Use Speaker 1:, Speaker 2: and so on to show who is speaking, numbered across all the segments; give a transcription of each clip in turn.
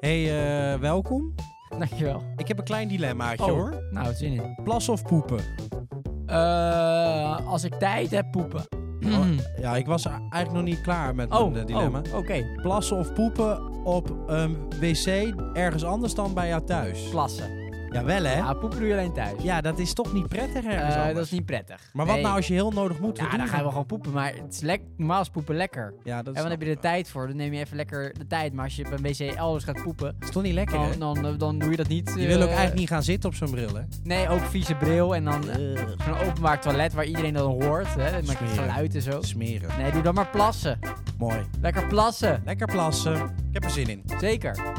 Speaker 1: hey, eh, welkom.
Speaker 2: Dankjewel.
Speaker 1: Ik heb een klein dilemmaatje
Speaker 2: Oh.
Speaker 1: hoor.
Speaker 2: Nou, zin in.
Speaker 1: Plassen of poepen?
Speaker 2: Eh, als ik tijd heb, poepen.
Speaker 1: Oh, Ja, ik was eigenlijk nog niet klaar met
Speaker 2: Mm. Oh,
Speaker 1: mijn eh, dilemma.
Speaker 2: oh, oké.
Speaker 1: Plassen of poepen op een wc ergens anders dan bij jou thuis?
Speaker 2: Plassen.
Speaker 1: Jawel hè?
Speaker 2: Ja, poepen doe je alleen thuis.
Speaker 1: Ja, dat is toch niet prettig ergens
Speaker 2: Eh,
Speaker 1: anders?
Speaker 2: dat is niet prettig.
Speaker 1: Maar wat
Speaker 2: Nee.
Speaker 1: nou als je heel nodig moet? Wat
Speaker 2: Ja,
Speaker 1: doe
Speaker 2: dan
Speaker 1: je
Speaker 2: gaan we gewoon poepen. Maar het is lek- normaal is poepen lekker.
Speaker 1: Ja, dat
Speaker 2: En
Speaker 1: is,
Speaker 2: dan heb je er tijd voor. Dan neem je even lekker de tijd. Maar als je bij een wc elders gaat poepen,
Speaker 1: is toch niet lekker hè?
Speaker 2: Oh, dan, Eh. dan, dan doe je dat niet.
Speaker 1: Je wil ook eigenlijk niet gaan zitten op zo'n bril hè?
Speaker 2: niet. Nee, ook vieze bril. En dan eh, zo'n openbaar toilet waar iedereen dat dan hoort. Hè, met
Speaker 1: Smerig.
Speaker 2: geluid en zo.
Speaker 1: Smeren.
Speaker 2: Nee, doe dan maar plassen.
Speaker 1: Mooi.
Speaker 2: Lekker plassen.
Speaker 1: Lekker plassen. Ik heb er zin in.
Speaker 2: Zeker.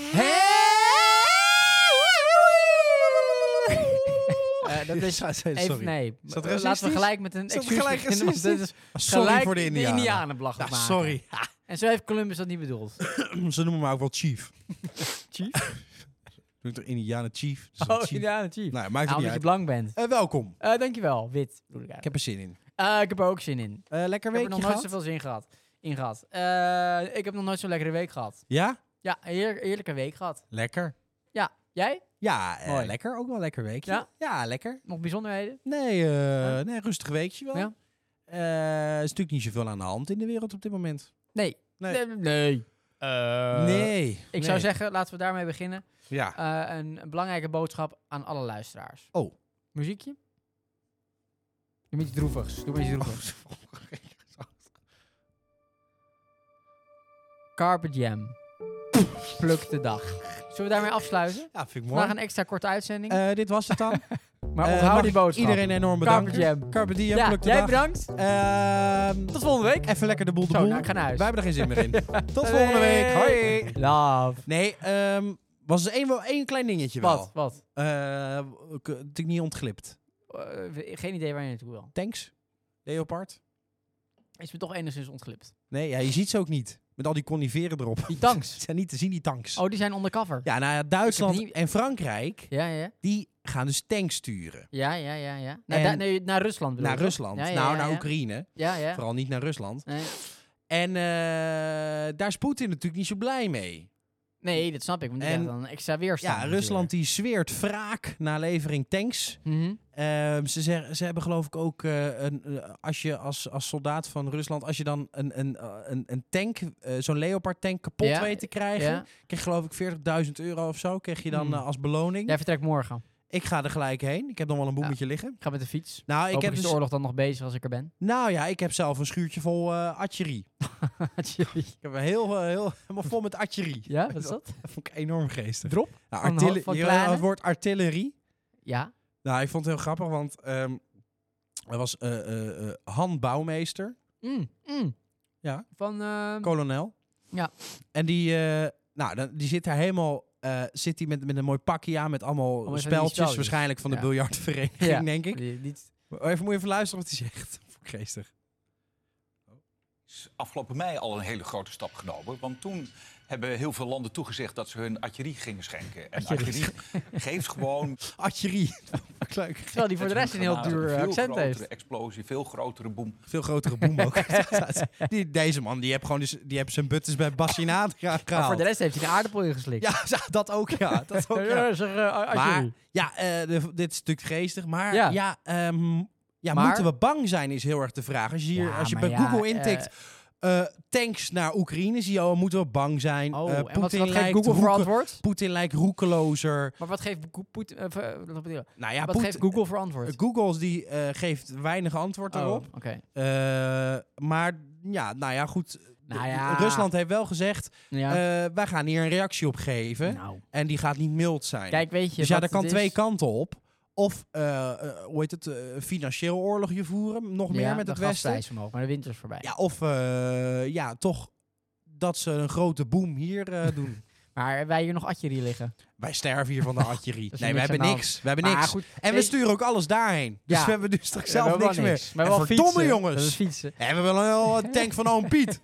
Speaker 2: Eh, dat is Even,
Speaker 1: sorry.
Speaker 2: nee.
Speaker 1: Is dat
Speaker 2: Eh, Laten
Speaker 1: racistisch?
Speaker 2: we gelijk met een
Speaker 1: Is dat
Speaker 2: excuus
Speaker 1: gelijk
Speaker 2: beginnen, want dit
Speaker 1: racistisch?
Speaker 2: is
Speaker 1: Sorry
Speaker 2: gelijk
Speaker 1: voor de Indianen.
Speaker 2: De Indianenblag
Speaker 1: Ja,
Speaker 2: maken.
Speaker 1: sorry.
Speaker 2: En zo heeft Columbus dat niet bedoeld.
Speaker 1: Ze noemen me ook wel Chief.
Speaker 2: Chief?
Speaker 1: Doe ik er Indiana Chief. Dus
Speaker 2: Oh,
Speaker 1: Chief.
Speaker 2: Indianen Chief.
Speaker 1: Nou, maakt
Speaker 2: Nou,
Speaker 1: het
Speaker 2: omdat
Speaker 1: niet
Speaker 2: je
Speaker 1: uit.
Speaker 2: blank bent.
Speaker 1: Eh, welkom.
Speaker 2: Eh, dankjewel, wit. bedoel Ik,
Speaker 1: Ik
Speaker 2: eigenlijk.
Speaker 1: heb er zin in.
Speaker 2: Eh, ik heb er ook zin in.
Speaker 1: Eh, lekker
Speaker 2: Ik heb er
Speaker 1: weekje
Speaker 2: nog nooit
Speaker 1: gehad?
Speaker 2: zoveel zin in gehad. In gehad. Eh, ik heb nog nooit zo'n lekkere week gehad.
Speaker 1: Ja?
Speaker 2: Ja, een heer- heerlijke week gehad.
Speaker 1: Lekker.
Speaker 2: Ja, jij?
Speaker 1: Ja, eh,
Speaker 2: Mooi.
Speaker 1: lekker. Ook wel een lekker weekje.
Speaker 2: Ja?
Speaker 1: lekker.
Speaker 2: Nog bijzonderheden?
Speaker 1: Nee, eh, nee, rustig weekje wel.
Speaker 2: Ja.
Speaker 1: Eh, er is natuurlijk niet zoveel aan de hand in de wereld op dit moment.
Speaker 2: Nee.
Speaker 1: Nee.
Speaker 2: nee. Eh,
Speaker 1: nee.
Speaker 2: Ik zou zeggen, laten we daarmee beginnen.
Speaker 1: Ja.
Speaker 2: Eh, een, een belangrijke boodschap aan alle luisteraars.
Speaker 1: Oh.
Speaker 2: Muziekje? Doe iets droevigs. Doe maar iets
Speaker 1: Oh.
Speaker 2: droevigs. Carpet Jam. Pluk de dag. Zullen we daarmee afsluiten?
Speaker 1: Ja, vind ik mooi.
Speaker 2: Vandaag een extra korte uitzending.
Speaker 1: Eh, dit was het dan.
Speaker 2: maar
Speaker 1: Eh,
Speaker 2: onthoud
Speaker 1: mag
Speaker 2: die
Speaker 1: ik
Speaker 2: boodschap.
Speaker 1: Iedereen enorm bedankt.
Speaker 2: Carpe Jam.
Speaker 1: Carpe diem,
Speaker 2: ja,
Speaker 1: plukte
Speaker 2: jij
Speaker 1: dag.
Speaker 2: bedankt.
Speaker 1: Ehm,
Speaker 2: Tot volgende week.
Speaker 1: even lekker de boel de
Speaker 2: Zo,
Speaker 1: boel.
Speaker 2: nou, ik ga naar huis.
Speaker 1: Wij hebben er geen zin meer in. Tot volgende week. Hoi.
Speaker 2: Love.
Speaker 1: Nee, ehm, was er één, wel één klein dingetje
Speaker 2: Wat?
Speaker 1: wel.
Speaker 2: Wat?
Speaker 1: Eh, ik- natuurlijk niet ontglipt.
Speaker 2: Eh, geen idee waar je naartoe wil.
Speaker 1: Tanks? Leopard?
Speaker 2: Is me toch enigszins ontglipt.
Speaker 1: Nee, ja, je ziet ze ook niet. Met al die coniveren erop.
Speaker 2: Die
Speaker 1: Ze
Speaker 2: tanks.
Speaker 1: zijn niet te zien, die tanks.
Speaker 2: Oh, die zijn undercover.
Speaker 1: Ja, nou ja, Duitsland
Speaker 2: Ik heb niet-
Speaker 1: en Frankrijk,
Speaker 2: Ja, ja, ja.
Speaker 1: die gaan dus tanks sturen.
Speaker 2: Ja, ja, ja. ja.
Speaker 1: En-
Speaker 2: Naar, daar- nee, naar Rusland bedoel
Speaker 1: Naar
Speaker 2: je, toch?
Speaker 1: Rusland.
Speaker 2: Ja, ja,
Speaker 1: nou,
Speaker 2: ja,
Speaker 1: naar
Speaker 2: ja.
Speaker 1: Oekraïne.
Speaker 2: Ja, ja.
Speaker 1: Vooral niet naar Rusland.
Speaker 2: Nee.
Speaker 1: En eh, daar is Poetin natuurlijk niet zo blij mee.
Speaker 2: nee, dat snap ik. Want die
Speaker 1: En-
Speaker 2: krijgen dan een extra weerstand.
Speaker 1: Ja,
Speaker 2: natuurlijk.
Speaker 1: Rusland die zweert wraak na levering tanks.
Speaker 2: Mhm.
Speaker 1: Ehm, ze, zeggen, ze hebben geloof ik ook, eh, een, eh, als je als, als soldaat van Rusland, als je dan een, een, eh, een, een tank, eh, zo'n Leopard tank kapot
Speaker 2: Ja,
Speaker 1: weet te krijgen,
Speaker 2: Ja.
Speaker 1: kreeg je, geloof ik 40.000 euro of zo, kreeg je dan
Speaker 2: Hmm.
Speaker 1: eh, als beloning.
Speaker 2: Jij vertrekt morgen.
Speaker 1: Ik ga er gelijk heen, ik heb nog wel een boemetje liggen.
Speaker 2: Ik ga met de fiets.
Speaker 1: Nou ik,
Speaker 2: Hopelijk
Speaker 1: heb
Speaker 2: is
Speaker 1: dus,
Speaker 2: de oorlog dan nog bezig als ik er ben.
Speaker 1: nou ja, ik heb zelf een schuurtje vol eh archerie. Ik heb een heel, eh, heel helemaal vol met archerie.
Speaker 2: ja, wat is dat?
Speaker 1: Dat vond ik enorm geestig.
Speaker 2: Drop?
Speaker 1: Nou,
Speaker 2: Van
Speaker 1: artille-
Speaker 2: ho- van
Speaker 1: je-
Speaker 2: kleine?
Speaker 1: het woord artillerie.
Speaker 2: Ja.
Speaker 1: Nou, ik vond het heel grappig, want ehm, er was eh, eh, eh, Han Bouwmeester.
Speaker 2: Mm, mm.
Speaker 1: Ja.
Speaker 2: Van, ehm,
Speaker 1: kolonel.
Speaker 2: Ja.
Speaker 1: En die, eh, nou, dan, die zit daar helemaal, eh, zit die met, met een mooi pakje aan met allemaal
Speaker 2: van die
Speaker 1: speltjes,
Speaker 2: speltjes.
Speaker 1: waarschijnlijk van de
Speaker 2: Ja.
Speaker 1: biljartvereniging,
Speaker 2: Ja.
Speaker 1: denk ik.
Speaker 2: die- die-
Speaker 1: Maar Even, moet je even luisteren wat hij zegt. Vond ik Geestig.
Speaker 3: is afgelopen mei al een hele grote stap genomen. Want toen hebben heel veel landen toegezegd dat ze hun artillerie gingen schenken. En artillerie geeft gewoon...
Speaker 1: Archerie. Vond ik Leuk.
Speaker 2: terwijl die voor de rest een heel duur eh,
Speaker 3: veel
Speaker 2: accent
Speaker 3: grotere
Speaker 2: heeft.
Speaker 3: explosie, veel grotere boom.
Speaker 1: Veel grotere boem ook. die, deze man, die heeft gewoon dus, die heeft zijn buttons bij Bassinaat
Speaker 2: Maar voor
Speaker 1: gehaald.
Speaker 2: de rest heeft hij een aardappel ingeslikt.
Speaker 1: Ja, dat ook, ja. Dat ook, ja.
Speaker 2: Ja, zeg, eh, als
Speaker 1: Maar
Speaker 2: jullie.
Speaker 1: ja, eh, de- dit is natuurlijk geestig. Maar ja,
Speaker 2: Ja.
Speaker 1: ehm, ja
Speaker 2: Maar-
Speaker 1: moeten we bang zijn is heel erg de vraag. Als je, hier,
Speaker 2: Ja,
Speaker 1: als je
Speaker 2: maar
Speaker 1: bij
Speaker 2: ja, eh,
Speaker 1: Google intikt eh, tanks naar Oekraïne, zie je al, moeten we bang zijn.
Speaker 2: Oh,
Speaker 1: Eh,
Speaker 2: en wat, wat
Speaker 1: Poetin,
Speaker 2: geeft
Speaker 1: lijkt
Speaker 2: Google voor
Speaker 1: roeke-
Speaker 2: antwoord?
Speaker 1: Poetin lijkt roekelozer.
Speaker 2: Maar wat geeft Go- Poet- eh, ver- wat bedoel je?
Speaker 1: Nou ja,
Speaker 2: wat
Speaker 1: Poet-
Speaker 2: geeft Google voor antwoord?
Speaker 1: Google's die eh, geeft weinig antwoord
Speaker 2: Oh,
Speaker 1: daarop.
Speaker 2: Oké.
Speaker 1: Eh, maar ja, nou ja, goed.
Speaker 2: Nou ja.
Speaker 1: Rusland heeft wel gezegd,
Speaker 2: Ja.
Speaker 1: eh, wij gaan hier een reactie op geven.
Speaker 2: nou.
Speaker 1: En die gaat niet mild zijn.
Speaker 2: Kijk, weet je
Speaker 1: Dus ja,
Speaker 2: wat
Speaker 1: daar kan
Speaker 2: het
Speaker 1: twee
Speaker 2: is?
Speaker 1: kanten op. Of, eh, eh, hoe heet het, eh, financieel oorlogje voeren, nog
Speaker 2: Ja,
Speaker 1: meer met
Speaker 2: de
Speaker 1: het Westen.
Speaker 2: gasprijs omhoog, maar de winter is voorbij.
Speaker 1: Ja, of eh, ja, toch dat ze een grote boom hier eh, doen.
Speaker 2: Maar wij hier nog atjerie liggen.
Speaker 1: Wij sterven hier van de artillerie.
Speaker 2: is
Speaker 1: nee, we
Speaker 2: niks
Speaker 1: hebben
Speaker 2: aan de
Speaker 1: niks. We hebben
Speaker 2: Maar
Speaker 1: niks.
Speaker 2: goed,
Speaker 1: En we
Speaker 2: nee,
Speaker 1: sturen ook alles daarheen. Dus
Speaker 2: Ja.
Speaker 1: we hebben nu straks
Speaker 2: we
Speaker 1: zelf
Speaker 2: hebben wel
Speaker 1: niks meer.
Speaker 2: Maar
Speaker 1: En
Speaker 2: wel
Speaker 1: verdomme,
Speaker 2: fietsen.
Speaker 1: jongens.
Speaker 2: Dat is fietsen.
Speaker 1: En we hebben wel een eh, tank van oom Piet.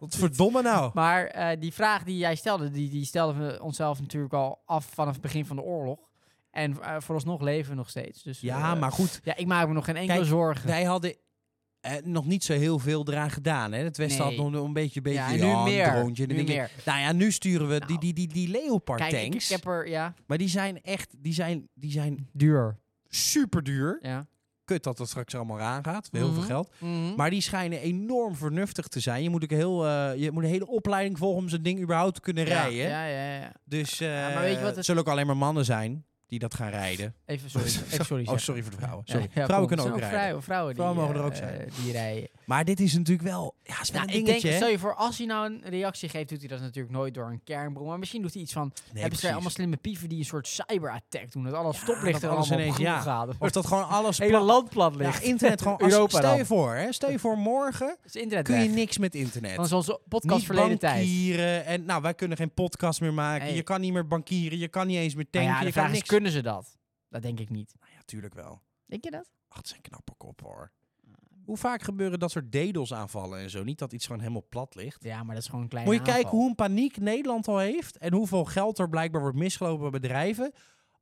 Speaker 1: Wat verdomme nou.
Speaker 2: Maar eh, die vraag die jij stelde, die, die stelden we onszelf natuurlijk al af vanaf het begin van de oorlog. En eh, vooralsnog leven we nog steeds. Dus,
Speaker 1: Ja,
Speaker 2: eh,
Speaker 1: maar goed.
Speaker 2: Ja, ik maak me nog geen enkele
Speaker 1: Kijk,
Speaker 2: zorgen.
Speaker 1: Wij hadden eh, nog niet zo heel veel eraan gedaan. Hè? Het Westen
Speaker 2: Nee.
Speaker 1: had nog een beetje, beetje
Speaker 2: Ja, en nu
Speaker 1: ja, een
Speaker 2: meer.
Speaker 1: droontje. Dan
Speaker 2: Nu
Speaker 1: denk ik, nou ja, nu sturen we die,
Speaker 2: Nou.
Speaker 1: die, die, die Leopard
Speaker 2: Kijk, ik, ik
Speaker 1: tanks.
Speaker 2: heb er, ja,
Speaker 1: Maar die zijn echt die zijn, die zijn
Speaker 2: duur.
Speaker 1: super duur.
Speaker 2: Ja.
Speaker 1: Kut dat dat straks allemaal aangaat. Heel
Speaker 2: Mhm.
Speaker 1: veel geld.
Speaker 2: Maar
Speaker 1: Maar die schijnen enorm vernuftig te zijn. Je moet, ook heel, eh, je moet een hele opleiding volgen om zo'n ding überhaupt te kunnen rijden.
Speaker 2: Ja, ja, ja.
Speaker 1: Dus eh
Speaker 2: maar weet je wat
Speaker 1: het
Speaker 2: het-
Speaker 1: zullen ook alleen maar mannen zijn die dat gaan rijden.
Speaker 2: Even sorry. Even sorry
Speaker 1: oh,
Speaker 2: zeggen.
Speaker 1: sorry voor de vrouwen.
Speaker 2: Ja,
Speaker 1: Sorry.
Speaker 2: ja, kom,
Speaker 1: vrouwen kunnen
Speaker 2: het
Speaker 1: ook
Speaker 2: zijn
Speaker 1: rijden.
Speaker 2: Vrouwen, vrouwen, die,
Speaker 1: Vrouwen mogen er ook
Speaker 2: eh,
Speaker 1: zijn.
Speaker 2: eh, die rijden.
Speaker 1: Maar dit is natuurlijk wel, ja, het is wel
Speaker 2: Nou,
Speaker 1: een
Speaker 2: ik
Speaker 1: dingetje.
Speaker 2: denk,
Speaker 1: hè?
Speaker 2: stel je voor, als hij nou een reactie geeft, doet hij dat natuurlijk nooit door een kernbron. Maar misschien doet hij iets van,
Speaker 1: Nee,
Speaker 2: hebben ze
Speaker 1: precies.
Speaker 2: allemaal slimme pieven die een soort cyberattack doen. Dat alle
Speaker 1: Ja,
Speaker 2: stoplichten
Speaker 1: dat alles
Speaker 2: allemaal op groen
Speaker 1: ineens, ja.
Speaker 2: gaan. Dat
Speaker 1: Of dat gewoon alles
Speaker 2: het hele
Speaker 1: plat-
Speaker 2: land plat ligt.
Speaker 1: ja, internet gewoon. Als,
Speaker 2: Europa
Speaker 1: stel je
Speaker 2: dan.
Speaker 1: voor, hè, stel je voor morgen
Speaker 2: Het is internet
Speaker 1: kun je
Speaker 2: weg.
Speaker 1: niks met
Speaker 2: Dan
Speaker 1: internet.
Speaker 2: is onze podcast
Speaker 1: Niet
Speaker 2: verleden tijd.
Speaker 1: bankieren en nou, wij kunnen geen podcast meer maken.
Speaker 2: Nee.
Speaker 1: Je kan niet meer bankieren, je kan niet eens meer
Speaker 2: Maar
Speaker 1: tanken,
Speaker 2: Nou ja, de
Speaker 1: je
Speaker 2: vraag
Speaker 1: kan
Speaker 2: is,
Speaker 1: niks.
Speaker 2: kunnen ze dat? Dat denk ik niet.
Speaker 1: Nou ja, tuurlijk wel.
Speaker 2: Denk je dat?
Speaker 1: Ach, het zijn knappe kop hoor. Hoe vaak gebeuren dat soort dedels aanvallen en zo? Niet dat iets gewoon helemaal plat ligt.
Speaker 2: Ja, maar dat is gewoon een kleine
Speaker 1: Moet je
Speaker 2: aanval.
Speaker 1: kijken hoe een paniek Nederland al heeft en hoeveel geld er blijkbaar wordt misgelopen bij bedrijven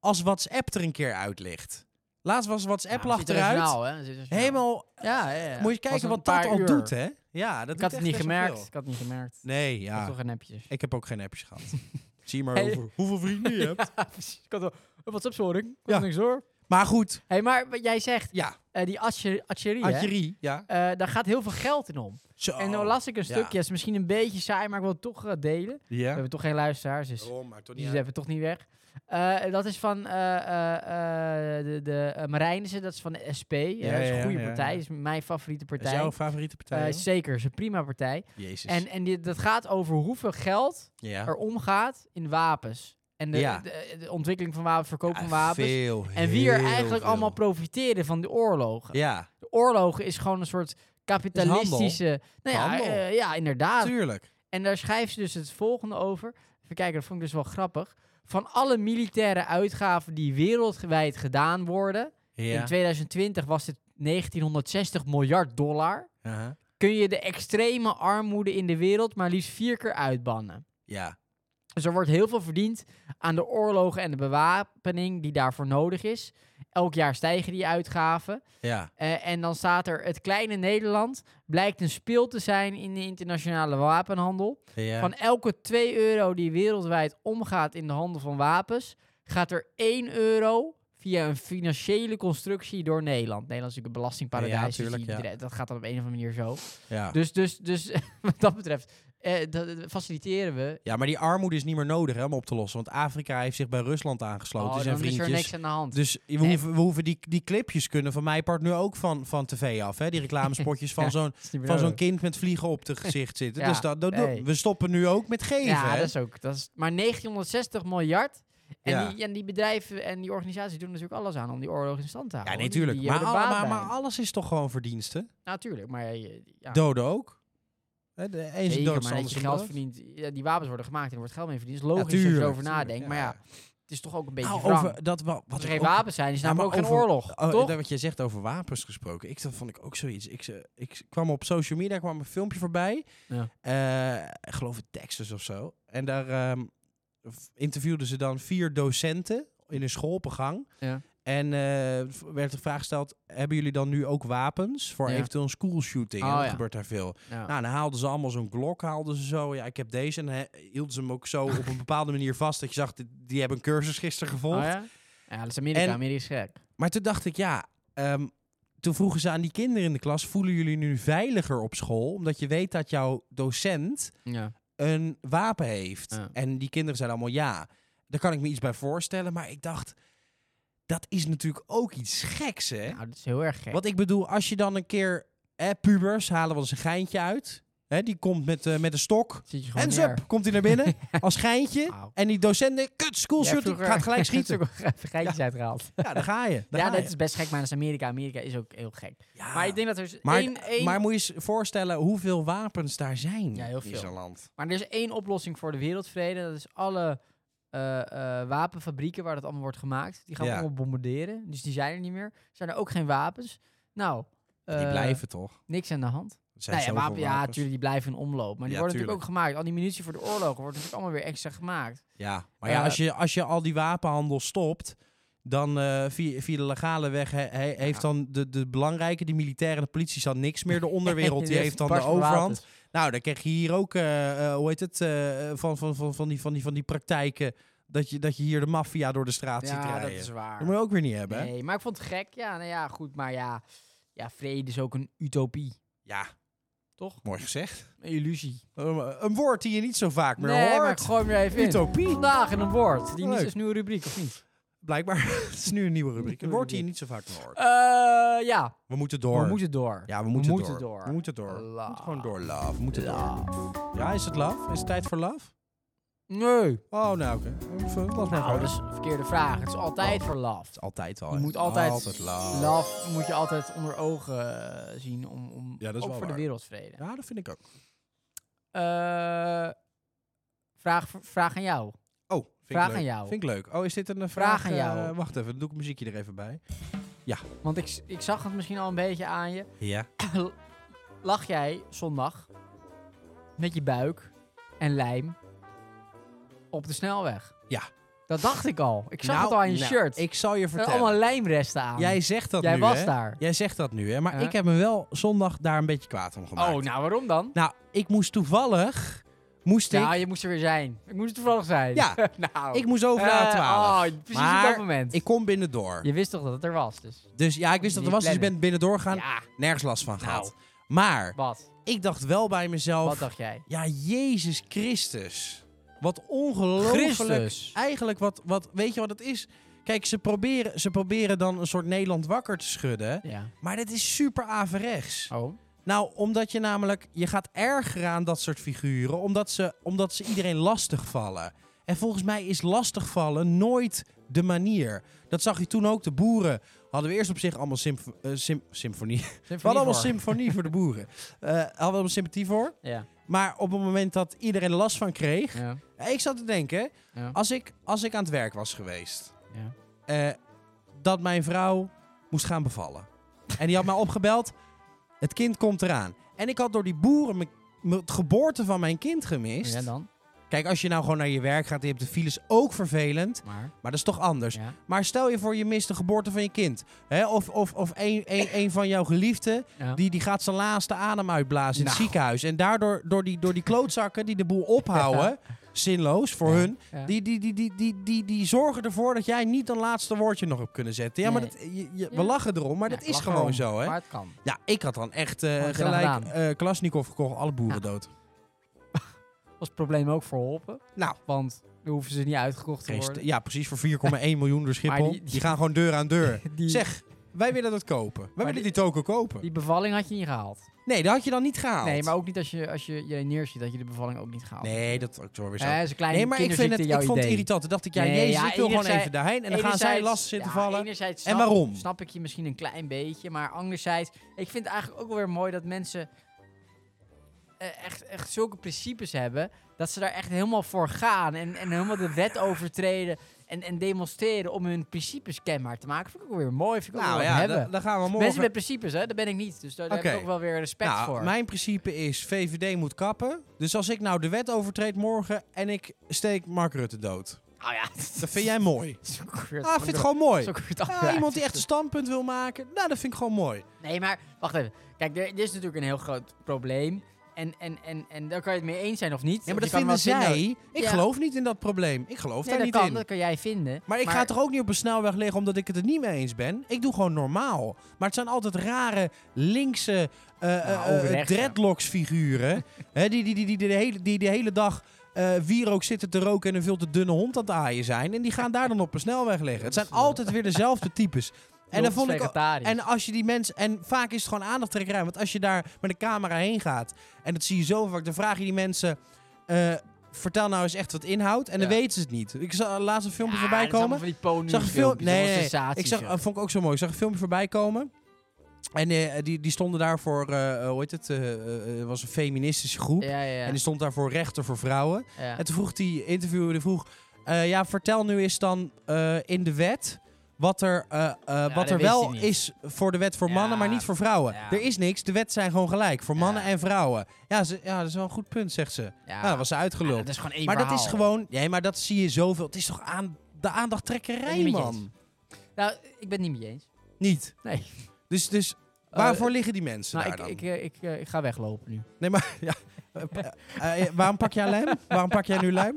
Speaker 1: als WhatsApp er een keer uit ligt. Laatst was
Speaker 2: Ja, maar
Speaker 1: WhatsApp
Speaker 2: zit
Speaker 1: lag
Speaker 2: er een
Speaker 1: eruit.
Speaker 2: journaal, hè? Er zit een journaal.
Speaker 1: Helemaal
Speaker 2: Ja, ja, ja.
Speaker 1: Moet je
Speaker 2: Was
Speaker 1: kijken
Speaker 2: een
Speaker 1: wat
Speaker 2: paar
Speaker 1: dat al
Speaker 2: uur.
Speaker 1: doet, hè? Ja, dat
Speaker 2: Ik had
Speaker 1: doet
Speaker 2: het
Speaker 1: echt
Speaker 2: niet
Speaker 1: best wel
Speaker 2: gemerkt.
Speaker 1: veel.
Speaker 2: Ik had het niet gemerkt.
Speaker 1: Nee,
Speaker 2: Ik had
Speaker 1: ja.
Speaker 2: toch een appje.
Speaker 1: Ik heb ook geen appjes gehad. Zie maar
Speaker 2: Hey.
Speaker 1: over hoeveel vrienden je hebt.
Speaker 2: Ja, precies. Ik had wel een WhatsApp-storing.
Speaker 1: Ja.
Speaker 2: niks hoor.
Speaker 1: Maar goed,
Speaker 2: hey, maar wat jij zegt,
Speaker 1: ja.
Speaker 2: eh, die archer- archerie, hè?
Speaker 1: Adjerie, ja.
Speaker 2: Eh, daar gaat heel veel geld in om.
Speaker 1: Zo.
Speaker 2: en nou dan las ik een
Speaker 1: Oh, ja.
Speaker 2: stukje, is misschien een beetje saai, maar ik wil het toch eh, delen. We
Speaker 1: Ja.
Speaker 2: hebben toch geen luisteraars, dus
Speaker 1: Daarom, maakt toch
Speaker 2: die
Speaker 1: Oh, niet uit.
Speaker 2: hebben toch niet weg. Eh, dat is van eh, eh, eh, de, de eh, Marijnissen, dat is van de SP. eh,
Speaker 1: Ja,
Speaker 2: dat is
Speaker 1: ja,
Speaker 2: een goede
Speaker 1: ja,
Speaker 2: partij,
Speaker 1: ja.
Speaker 2: is mijn favoriete
Speaker 1: Dat is
Speaker 2: partij.
Speaker 1: jouw favoriete
Speaker 2: Eh,
Speaker 1: partij, joh?
Speaker 2: zeker, is een prima partij.
Speaker 1: Jezus.
Speaker 2: En, en die, dat gaat over hoeveel geld
Speaker 1: ja.
Speaker 2: er omgaat in wapens. En de,
Speaker 1: Ja.
Speaker 2: de, de ontwikkeling van wapens, verkoop
Speaker 1: Ja,
Speaker 2: van wapens.
Speaker 1: Ah, veel,
Speaker 2: en wie er
Speaker 1: heel
Speaker 2: eigenlijk
Speaker 1: veel.
Speaker 2: allemaal profiteren van de oorlogen.
Speaker 1: Ja,
Speaker 2: De oorlogen is gewoon een soort kapitalistische... Nou ja,
Speaker 1: Handel.
Speaker 2: eh, ja, inderdaad.
Speaker 1: tuurlijk.
Speaker 2: En daar schrijft ze dus het volgende over. Even kijken, dat vond ik dus wel grappig. Van alle militaire uitgaven die wereldwijd gedaan worden...
Speaker 1: Ja.
Speaker 2: In 2020 was het 1960 miljard dollar.
Speaker 1: Aha.
Speaker 2: Kun je de extreme armoede in de wereld maar liefst vier keer uitbannen.
Speaker 1: Ja.
Speaker 2: Dus er wordt heel veel verdiend aan de oorlogen en de bewapening die daarvoor nodig is. Elk jaar stijgen die uitgaven.
Speaker 1: Ja.
Speaker 2: Eh, en dan staat er: het kleine Nederland blijkt een speel te zijn in de internationale wapenhandel.
Speaker 1: Ja.
Speaker 2: Van elke 2 euro die wereldwijd omgaat in de handel van wapens, gaat er 1 euro via een financiële constructie door Nederland. Nederland is natuurlijk een belastingparadijs.
Speaker 1: Ja,
Speaker 2: dus die
Speaker 1: tuurlijk, ja.
Speaker 2: bedrijf- Dat gaat dan op een of andere manier zo.
Speaker 1: ja.
Speaker 2: Dus, dus, dus wat dat betreft, eh, dat, dat faciliteren we
Speaker 1: Ja, maar die armoede is niet meer nodig hè, om op te lossen. Want Afrika heeft zich bij Rusland aangesloten.
Speaker 2: Oh,
Speaker 1: zijn
Speaker 2: dan is er
Speaker 1: vriendjes.
Speaker 2: niks aan de hand.
Speaker 1: Dus we
Speaker 2: Nee.
Speaker 1: hoeven, we hoeven die, die clipjes kunnen van mij part nu ook van, van tv af. Hè? Die reclamespotjes van
Speaker 2: Ja,
Speaker 1: zo'n
Speaker 2: Dat is niet meer
Speaker 1: van zo'n
Speaker 2: nodig.
Speaker 1: kind met vliegen op het gezicht zitten.
Speaker 2: Ja,
Speaker 1: Dus dat, dat- dat-
Speaker 2: nee.
Speaker 1: we stoppen nu ook met geven.
Speaker 2: Ja,
Speaker 1: hè?
Speaker 2: dat is ook. Dat is, maar 960 miljard. En,
Speaker 1: Ja.
Speaker 2: die, en die bedrijven en die organisaties doen natuurlijk alles aan om die oorlog in stand te
Speaker 1: ja
Speaker 2: houden.
Speaker 1: nee,
Speaker 2: Die-
Speaker 1: tuurlijk.
Speaker 2: oh, die
Speaker 1: Maar,
Speaker 2: hebben er
Speaker 1: alle-
Speaker 2: baat
Speaker 1: maar,
Speaker 2: bij.
Speaker 1: maar alles is toch gewoon verdiensten?
Speaker 2: Natuurlijk, maar eh, ja.
Speaker 1: Doden ook. Hè, de een
Speaker 2: Zeker,
Speaker 1: zijn dood, de
Speaker 2: maar
Speaker 1: ander
Speaker 2: dat je
Speaker 1: zijn
Speaker 2: geld
Speaker 1: dood.
Speaker 2: verdient. Ja, die wapens worden gemaakt en er wordt geld mee verdiend. Het is
Speaker 1: Ja,
Speaker 2: logisch dat je
Speaker 1: tuurlijk,
Speaker 2: erover
Speaker 1: tuurlijk,
Speaker 2: nadenkt. Maar ja, het is toch ook een beetje
Speaker 1: Nou,
Speaker 2: wrang.
Speaker 1: over dat wa-
Speaker 2: Als
Speaker 1: wat
Speaker 2: er
Speaker 1: ik
Speaker 2: geen
Speaker 1: ook-
Speaker 2: wapens zijn, is
Speaker 1: Ja,
Speaker 2: namelijk
Speaker 1: maar
Speaker 2: ook geen
Speaker 1: over-
Speaker 2: oorlog.
Speaker 1: Oh,
Speaker 2: toch?
Speaker 1: dat wat je zegt over wapens gesproken. Ik, dat vond ik ook zoiets. Ik, ze- ik kwam op social media, kwam een filmpje voorbij.
Speaker 2: Ja.
Speaker 1: Eh, ik geloof in Texas of zo. En daar ehm, v- interviewden ze dan vier docenten in een school op een gang.
Speaker 2: Ja.
Speaker 1: En eh, v- werd de vraag gesteld, hebben jullie dan nu ook wapens voor
Speaker 2: Ja.
Speaker 1: eventueel een school shooting?
Speaker 2: Oh,
Speaker 1: dat
Speaker 2: ja.
Speaker 1: gebeurt daar veel.
Speaker 2: Ja.
Speaker 1: Nou, dan haalden ze allemaal zo'n Glock, haalden ze zo. Ja, ik heb deze. En he- hielden ze hem ook zo op een bepaalde manier vast. Dat je zag, die, die hebben een cursus gisteren gevolgd.
Speaker 2: Oh, ja? ja, dat is Amerika.
Speaker 1: En-
Speaker 2: Amerika is gek.
Speaker 1: Maar toen dacht ik, ja, ehm, toen vroegen ze aan die kinderen in de klas: voelen jullie nu veiliger op school? Omdat je weet dat jouw docent
Speaker 2: Ja.
Speaker 1: een wapen heeft.
Speaker 2: Ja.
Speaker 1: En die kinderen zeiden allemaal ja. Daar kan ik me iets bij voorstellen. Maar ik dacht, dat is natuurlijk ook iets geks, hè?
Speaker 2: Nou, dat is heel erg gek.
Speaker 1: Want ik bedoel, als je dan een keer. Hè, pubers halen wel eens een geintje uit. Hè, die komt met, eh, met een stok.
Speaker 2: Zit je gewoon
Speaker 1: En
Speaker 2: neer.
Speaker 1: zup, komt hij naar binnen als geintje.
Speaker 2: Auw.
Speaker 1: En die docenten, kut,
Speaker 2: Jij
Speaker 1: schoolshirt,
Speaker 2: vroeger-
Speaker 1: gaat gelijk schieten.
Speaker 2: vroeger even geitjes uitgehaald.
Speaker 1: Ja, daar ga je. Daar
Speaker 2: Ja,
Speaker 1: ga
Speaker 2: dat
Speaker 1: je.
Speaker 2: is best gek, maar dat is Amerika. Amerika is ook heel gek.
Speaker 1: Ja.
Speaker 2: Maar ik denk dat er is
Speaker 1: Ah. Maar,
Speaker 2: één, één-
Speaker 1: maar moet je eens voorstellen hoeveel wapens daar zijn
Speaker 2: Ja, heel
Speaker 1: in
Speaker 2: veel.
Speaker 1: zo'n land.
Speaker 2: Maar er is één oplossing voor de wereldvrede. Dat is alle eh, eh, wapenfabrieken waar dat allemaal wordt gemaakt. Die gaan we
Speaker 1: Ja.
Speaker 2: allemaal bombarderen. Dus die zijn er niet meer. Zijn er ook geen wapens. Nou,
Speaker 1: die
Speaker 2: eh,
Speaker 1: blijven toch? Er
Speaker 2: niks aan de hand.
Speaker 1: zijn
Speaker 2: nou ja,
Speaker 1: zoveel
Speaker 2: wapen, ja,
Speaker 1: wapens.
Speaker 2: natuurlijk, die blijven in omloop. Maar die
Speaker 1: Ja,
Speaker 2: worden
Speaker 1: tuurlijk.
Speaker 2: natuurlijk ook gemaakt. Al die munitie voor de oorlogen wordt natuurlijk allemaal weer extra gemaakt.
Speaker 1: Ja, maar ja,
Speaker 2: Eh,
Speaker 1: als, je, als je al die wapenhandel stopt, dan eh, via, via de legale weg he- he- heeft dan de, de belangrijke, die militairen, de politie, dan niks meer. De onderwereld die heeft dan de
Speaker 2: Barst van wapens.
Speaker 1: overhand. Nou, dan krijg je hier ook, eh, eh, hoe heet het, eh, van, van, van, van, die, van, die, van die praktijken dat je, dat je hier de maffia door de straat ziet
Speaker 2: Ja, dat
Speaker 1: rijden.
Speaker 2: is waar.
Speaker 1: Dat moet je ook weer niet hebben. hè?
Speaker 2: Nee, maar ik vond het gek. Ja, nou ja, goed. Maar ja, ja vrede is ook een utopie.
Speaker 1: Ja,
Speaker 2: Toch?
Speaker 1: mooi gezegd.
Speaker 2: Een illusie.
Speaker 1: Een, een woord die je niet zo vaak meer
Speaker 2: nee, maar ik
Speaker 1: hoort.
Speaker 2: gooi hem er even in.
Speaker 1: Utopie.
Speaker 2: Vandaag in een woord. Die
Speaker 1: Leuk.
Speaker 2: is een nieuwe rubriek, of niet?
Speaker 1: Blijkbaar, het is nu een nieuwe rubriek. Een
Speaker 2: Nieuwe
Speaker 1: woord die je
Speaker 2: rubriek.
Speaker 1: niet zo vaak meer hoort.
Speaker 2: Eh, ja.
Speaker 1: We moeten door.
Speaker 2: We moeten door.
Speaker 1: Ja, we moeten,
Speaker 2: moeten
Speaker 1: door.
Speaker 2: door.
Speaker 1: We moeten door. We
Speaker 2: Love.
Speaker 1: moeten gewoon door, love. We moeten door. Ja, is het love? Is het tijd voor love?
Speaker 2: Nee.
Speaker 1: Oh, nou oké. Eh, v- Las maar
Speaker 2: Nou,
Speaker 1: voor.
Speaker 2: dat is een verkeerde vraag. Het is altijd voor love.
Speaker 1: is altijd wel.
Speaker 2: Je
Speaker 1: hè?
Speaker 2: moet altijd...
Speaker 1: love.
Speaker 2: Love moet je altijd onder ogen eh, zien om... om
Speaker 1: Ja, dat is
Speaker 2: ook
Speaker 1: wel
Speaker 2: voor
Speaker 1: waar.
Speaker 2: de wereldvrede.
Speaker 1: Ja, dat vind ik ook.
Speaker 2: Eh, vraag, vraag aan jou.
Speaker 1: Oh, vind
Speaker 2: Vraag
Speaker 1: ik leuk.
Speaker 2: aan jou.
Speaker 1: Vind ik leuk. Oh, is dit een eh,
Speaker 2: Vraag
Speaker 1: vraag,
Speaker 2: aan jou.
Speaker 1: eh, wacht even, dan doe ik het muziekje er even bij.
Speaker 2: Want ik, s- ik zag het misschien al een beetje aan je.
Speaker 1: Ja.
Speaker 2: Lag jij zondag met je buik en lijm op de snelweg?
Speaker 1: Ja.
Speaker 2: Dat dacht ik al. Ik zag het al aan je shirt.
Speaker 1: Nou, Ik zal je
Speaker 2: Er waren
Speaker 1: vertellen.
Speaker 2: allemaal lijmresten aan.
Speaker 1: Jij zegt dat
Speaker 2: Jij
Speaker 1: nu,
Speaker 2: was
Speaker 1: hè?
Speaker 2: daar.
Speaker 1: Jij zegt dat nu, hè? Maar
Speaker 2: Ja.
Speaker 1: ik heb me wel zondag daar een beetje kwaad om gemaakt.
Speaker 2: oh, nou waarom dan?
Speaker 1: Nou, ik moest toevallig... Moest
Speaker 2: Ja,
Speaker 1: ik...
Speaker 2: je moest er weer zijn. Ik moest er toevallig zijn.
Speaker 1: Ja,
Speaker 2: nou.
Speaker 1: ik moest over naar
Speaker 2: Eh,
Speaker 1: 12.
Speaker 2: Oh, precies
Speaker 1: Maar
Speaker 2: op dat moment.
Speaker 1: Ik kom binnendoor.
Speaker 2: Je wist toch dat het er was, dus...
Speaker 1: Dus ja, ik wist dat er was, dus ik ben binnendoor gegaan.
Speaker 2: Ja,
Speaker 1: Nergens last van
Speaker 2: Nou.
Speaker 1: gehad. Maar
Speaker 2: wat?
Speaker 1: ik dacht wel bij
Speaker 2: Wat
Speaker 1: mezelf...
Speaker 2: dacht jij?
Speaker 1: Ja, Jezus Christus. Wat ongelooflijk.
Speaker 2: Christus.
Speaker 1: Eigenlijk wat, wat... Weet je wat het is? Kijk, ze proberen, ze proberen dan een soort Nederland wakker te schudden.
Speaker 2: Ja.
Speaker 1: Maar dit is super averechts.
Speaker 2: Oh.
Speaker 1: Nou, omdat je namelijk... Je gaat erger aan dat soort figuren. Omdat ze, omdat ze iedereen lastig vallen. En volgens mij is lastigvallen nooit de manier. Dat zag je toen ook. De boeren hadden we eerst op zich allemaal symf- eh, sym- symfonie... We hadden allemaal symphonie voor de boeren. Eh hadden we allemaal sympathie voor.
Speaker 2: Ja.
Speaker 1: Maar op het moment dat iedereen er last van kreeg... eh,
Speaker 2: Ja.
Speaker 1: Ik zat te denken,
Speaker 2: Ja.
Speaker 1: als ik, als ik aan het werk was geweest...
Speaker 2: Ja.
Speaker 1: eh, dat mijn vrouw moest gaan bevallen. En die had mij opgebeld. Het kind komt eraan. En ik had door die boeren mijn- mijn- het geboorte van mijn kind gemist.
Speaker 2: Ja, dan.
Speaker 1: Kijk, als je nou gewoon naar je werk gaat... en je hebt de files ook vervelend.
Speaker 2: Maar...
Speaker 1: Maar dat is toch anders.
Speaker 2: Ja.
Speaker 1: Maar stel je voor, je mist de geboorte van je kind. Hè? Of, of, of een, een, een van jouw geliefden,
Speaker 2: Ja.
Speaker 1: die, die gaat zijn laatste adem uitblazen in
Speaker 2: Nou.
Speaker 1: het ziekenhuis. En daardoor, door die, door die klootzakken die de boel ophouden, zinloos voor
Speaker 2: Ja.
Speaker 1: hun,
Speaker 2: Ja.
Speaker 1: die, die, die, die, die, die, die zorgen ervoor dat jij niet een laatste woordje nog hebt kunnen zetten. Ja, maar
Speaker 2: Nee.
Speaker 1: dat, je, je- we
Speaker 2: Ja.
Speaker 1: lachen erom, maar
Speaker 2: Ja,
Speaker 1: dat is
Speaker 2: lach
Speaker 1: gewoon
Speaker 2: erom.
Speaker 1: zo, hè?
Speaker 2: Maar het kan.
Speaker 1: Ja, ik had dan echt eh,
Speaker 2: Wat had je dan
Speaker 1: gelijk
Speaker 2: gedaan?
Speaker 1: eh Klasnikov gekocht, alle boeren dood.
Speaker 2: was het probleem ook verholpen.
Speaker 1: Nou.
Speaker 2: Want dan hoeven ze niet uitgekocht te
Speaker 1: Geen st-
Speaker 2: worden.
Speaker 1: Ja, precies, voor 4,1 miljoen door Schiphol.
Speaker 2: die-
Speaker 1: Die,
Speaker 2: die-
Speaker 1: gaan gewoon deur aan deur.
Speaker 2: Die,
Speaker 1: Zeg, wij willen dat kopen. Wij
Speaker 2: Maar
Speaker 1: willen
Speaker 2: die-
Speaker 1: die toko kopen.
Speaker 2: die bevalling had je niet gehaald.
Speaker 1: Nee, dat had je dan niet gehaald.
Speaker 2: Nee, maar ook niet als je als je, je neerziet dat je de bevalling ook niet gehaald
Speaker 1: Nee, dat ook zo weer zo.
Speaker 2: Eh, is een kleine
Speaker 1: nee, maar ik, vind het, ik
Speaker 2: kinderziekte,
Speaker 1: vond
Speaker 2: jouw
Speaker 1: het
Speaker 2: idee.
Speaker 1: irritant. Toen dacht ik, ja,
Speaker 2: Nee,
Speaker 1: jezus,
Speaker 2: ja,
Speaker 1: ik wil gewoon
Speaker 2: enerzijds-
Speaker 1: even daarheen. En dan gaan zij
Speaker 2: Enerzijds-
Speaker 1: last zitten
Speaker 2: ja,
Speaker 1: vallen.
Speaker 2: enerzijds
Speaker 1: En
Speaker 2: snap-
Speaker 1: waarom?
Speaker 2: Snap ik je misschien een klein beetje, maar anderzijds, ik vind het eigenlijk ook wel weer mooi dat mensen eh, echt, echt zulke principes hebben dat ze daar echt helemaal voor gaan en, en helemaal de wet overtreden en, en demonstreren om hun principes kenbaar te maken. Vind ik ook wel weer mooi. Vind ik ook
Speaker 1: nou
Speaker 2: wel wat
Speaker 1: ja,
Speaker 2: hebben.
Speaker 1: dan, dan gaan we morgen...
Speaker 2: Mensen met principes, hè? Dat ben ik niet. Dus daar, daar heb
Speaker 1: Oké.
Speaker 2: ik ook wel weer respect
Speaker 1: Nou,
Speaker 2: voor.
Speaker 1: Mijn principe is, VVD moet kappen. Dus als ik nou de wet overtreed morgen en ik steek Mark Rutte dood.
Speaker 2: Nou ja,
Speaker 1: Dat vind jij mooi.
Speaker 2: is ook weer-
Speaker 1: Ah, ik vind het gewoon mooi.
Speaker 2: is ook weer het
Speaker 1: Ah,
Speaker 2: andere
Speaker 1: iemand die echt een standpunt wil maken, nou, dat vind ik gewoon mooi.
Speaker 2: Nee, maar wacht even. Kijk, er, er is natuurlijk een heel groot probleem. En, en, en, en daar kan je het mee eens zijn of niet.
Speaker 1: Ja, maar
Speaker 2: Of
Speaker 1: dat
Speaker 2: je kan
Speaker 1: vinden
Speaker 2: wel vinden-
Speaker 1: zij. Ik
Speaker 2: Ja.
Speaker 1: geloof niet in dat probleem. Ik geloof
Speaker 2: Nee,
Speaker 1: daar
Speaker 2: dat
Speaker 1: niet
Speaker 2: kan,
Speaker 1: in.
Speaker 2: dat kan jij vinden.
Speaker 1: Maar ik ga toch ook niet op een snelweg liggen omdat ik het er niet mee eens ben? Ik doe gewoon normaal. Maar het zijn altijd rare linkse eh eh, eh,
Speaker 2: rechts, ja.
Speaker 1: dreadlocks figuren. hè, die, die, die, die, de hele, die de hele dag eh wierook zitten te roken en een veel te dunne hond aan het aaien zijn. En die gaan daar dan op een snelweg liggen. Het zijn altijd weer dezelfde types. En dan vond ik ook-
Speaker 2: vegetarisch.
Speaker 1: En als je die mensen. En vaak is het gewoon aandachttrekkerij. Want als je daar met een camera heen gaat. En dat zie je zo vaak. Dan vraag je die mensen. eh, vertel nou eens echt wat inhoud. En dan
Speaker 3: Ja.
Speaker 1: weten ze het niet. Ik zag eh, laatst een filmpje
Speaker 2: Ja,
Speaker 1: voorbij
Speaker 2: dat is allemaal
Speaker 1: komen.
Speaker 2: Van die pony
Speaker 1: Zag een film, nee, nee, nee.
Speaker 2: sensaties,
Speaker 1: ik zag,
Speaker 2: joh.
Speaker 1: eh, vond ik ook zo mooi. Ik zag een filmpje voorbij komen. En eh, die, die stonden daarvoor. eh, eh, hoe heet het? eh, eh, eh, was een feministische groep.
Speaker 2: Ja, ja,
Speaker 1: En dus- die stond daarvoor rechter voor vrouwen.
Speaker 2: ja.
Speaker 1: En toen vroeg die interviewer, die vroeg... eh, ja, vertel nu eens dan eh, in de wet wat er, eh, eh, wat
Speaker 2: dat
Speaker 1: er
Speaker 2: wist
Speaker 1: wel
Speaker 2: hij niet.
Speaker 1: is voor de wet voor
Speaker 2: Ja,
Speaker 1: mannen, maar niet voor vrouwen.
Speaker 2: ja.
Speaker 1: Er is niks, de wet zijn gewoon gelijk, voor
Speaker 2: Ja.
Speaker 1: mannen en vrouwen. Ja, ze, ja, dat is wel een goed punt, zegt ze. Ja,
Speaker 2: Ja.
Speaker 1: nou, dat was ze
Speaker 2: Ja,
Speaker 1: uitgeluld.
Speaker 2: dat is gewoon één
Speaker 1: maar dat is
Speaker 2: verhaal.
Speaker 1: gewoon... Nee, maar dat zie je zoveel. Het is toch aan de
Speaker 2: Ben
Speaker 1: aandachttrekkerij,
Speaker 2: je niet met je
Speaker 1: man?
Speaker 2: Nou, ik ben het niet mee eens.
Speaker 1: Niet.
Speaker 2: Nee.
Speaker 1: Dus, dus
Speaker 2: Eh,
Speaker 1: waarvoor liggen die mensen
Speaker 2: Nou,
Speaker 1: daar
Speaker 2: ik,
Speaker 1: dan?
Speaker 2: ik, eh, ik, eh, ik ga weglopen nu.
Speaker 1: Nee, maar... Ja. Eh, eh, waarom pak jij lijm? Waarom pak jij nu lijm?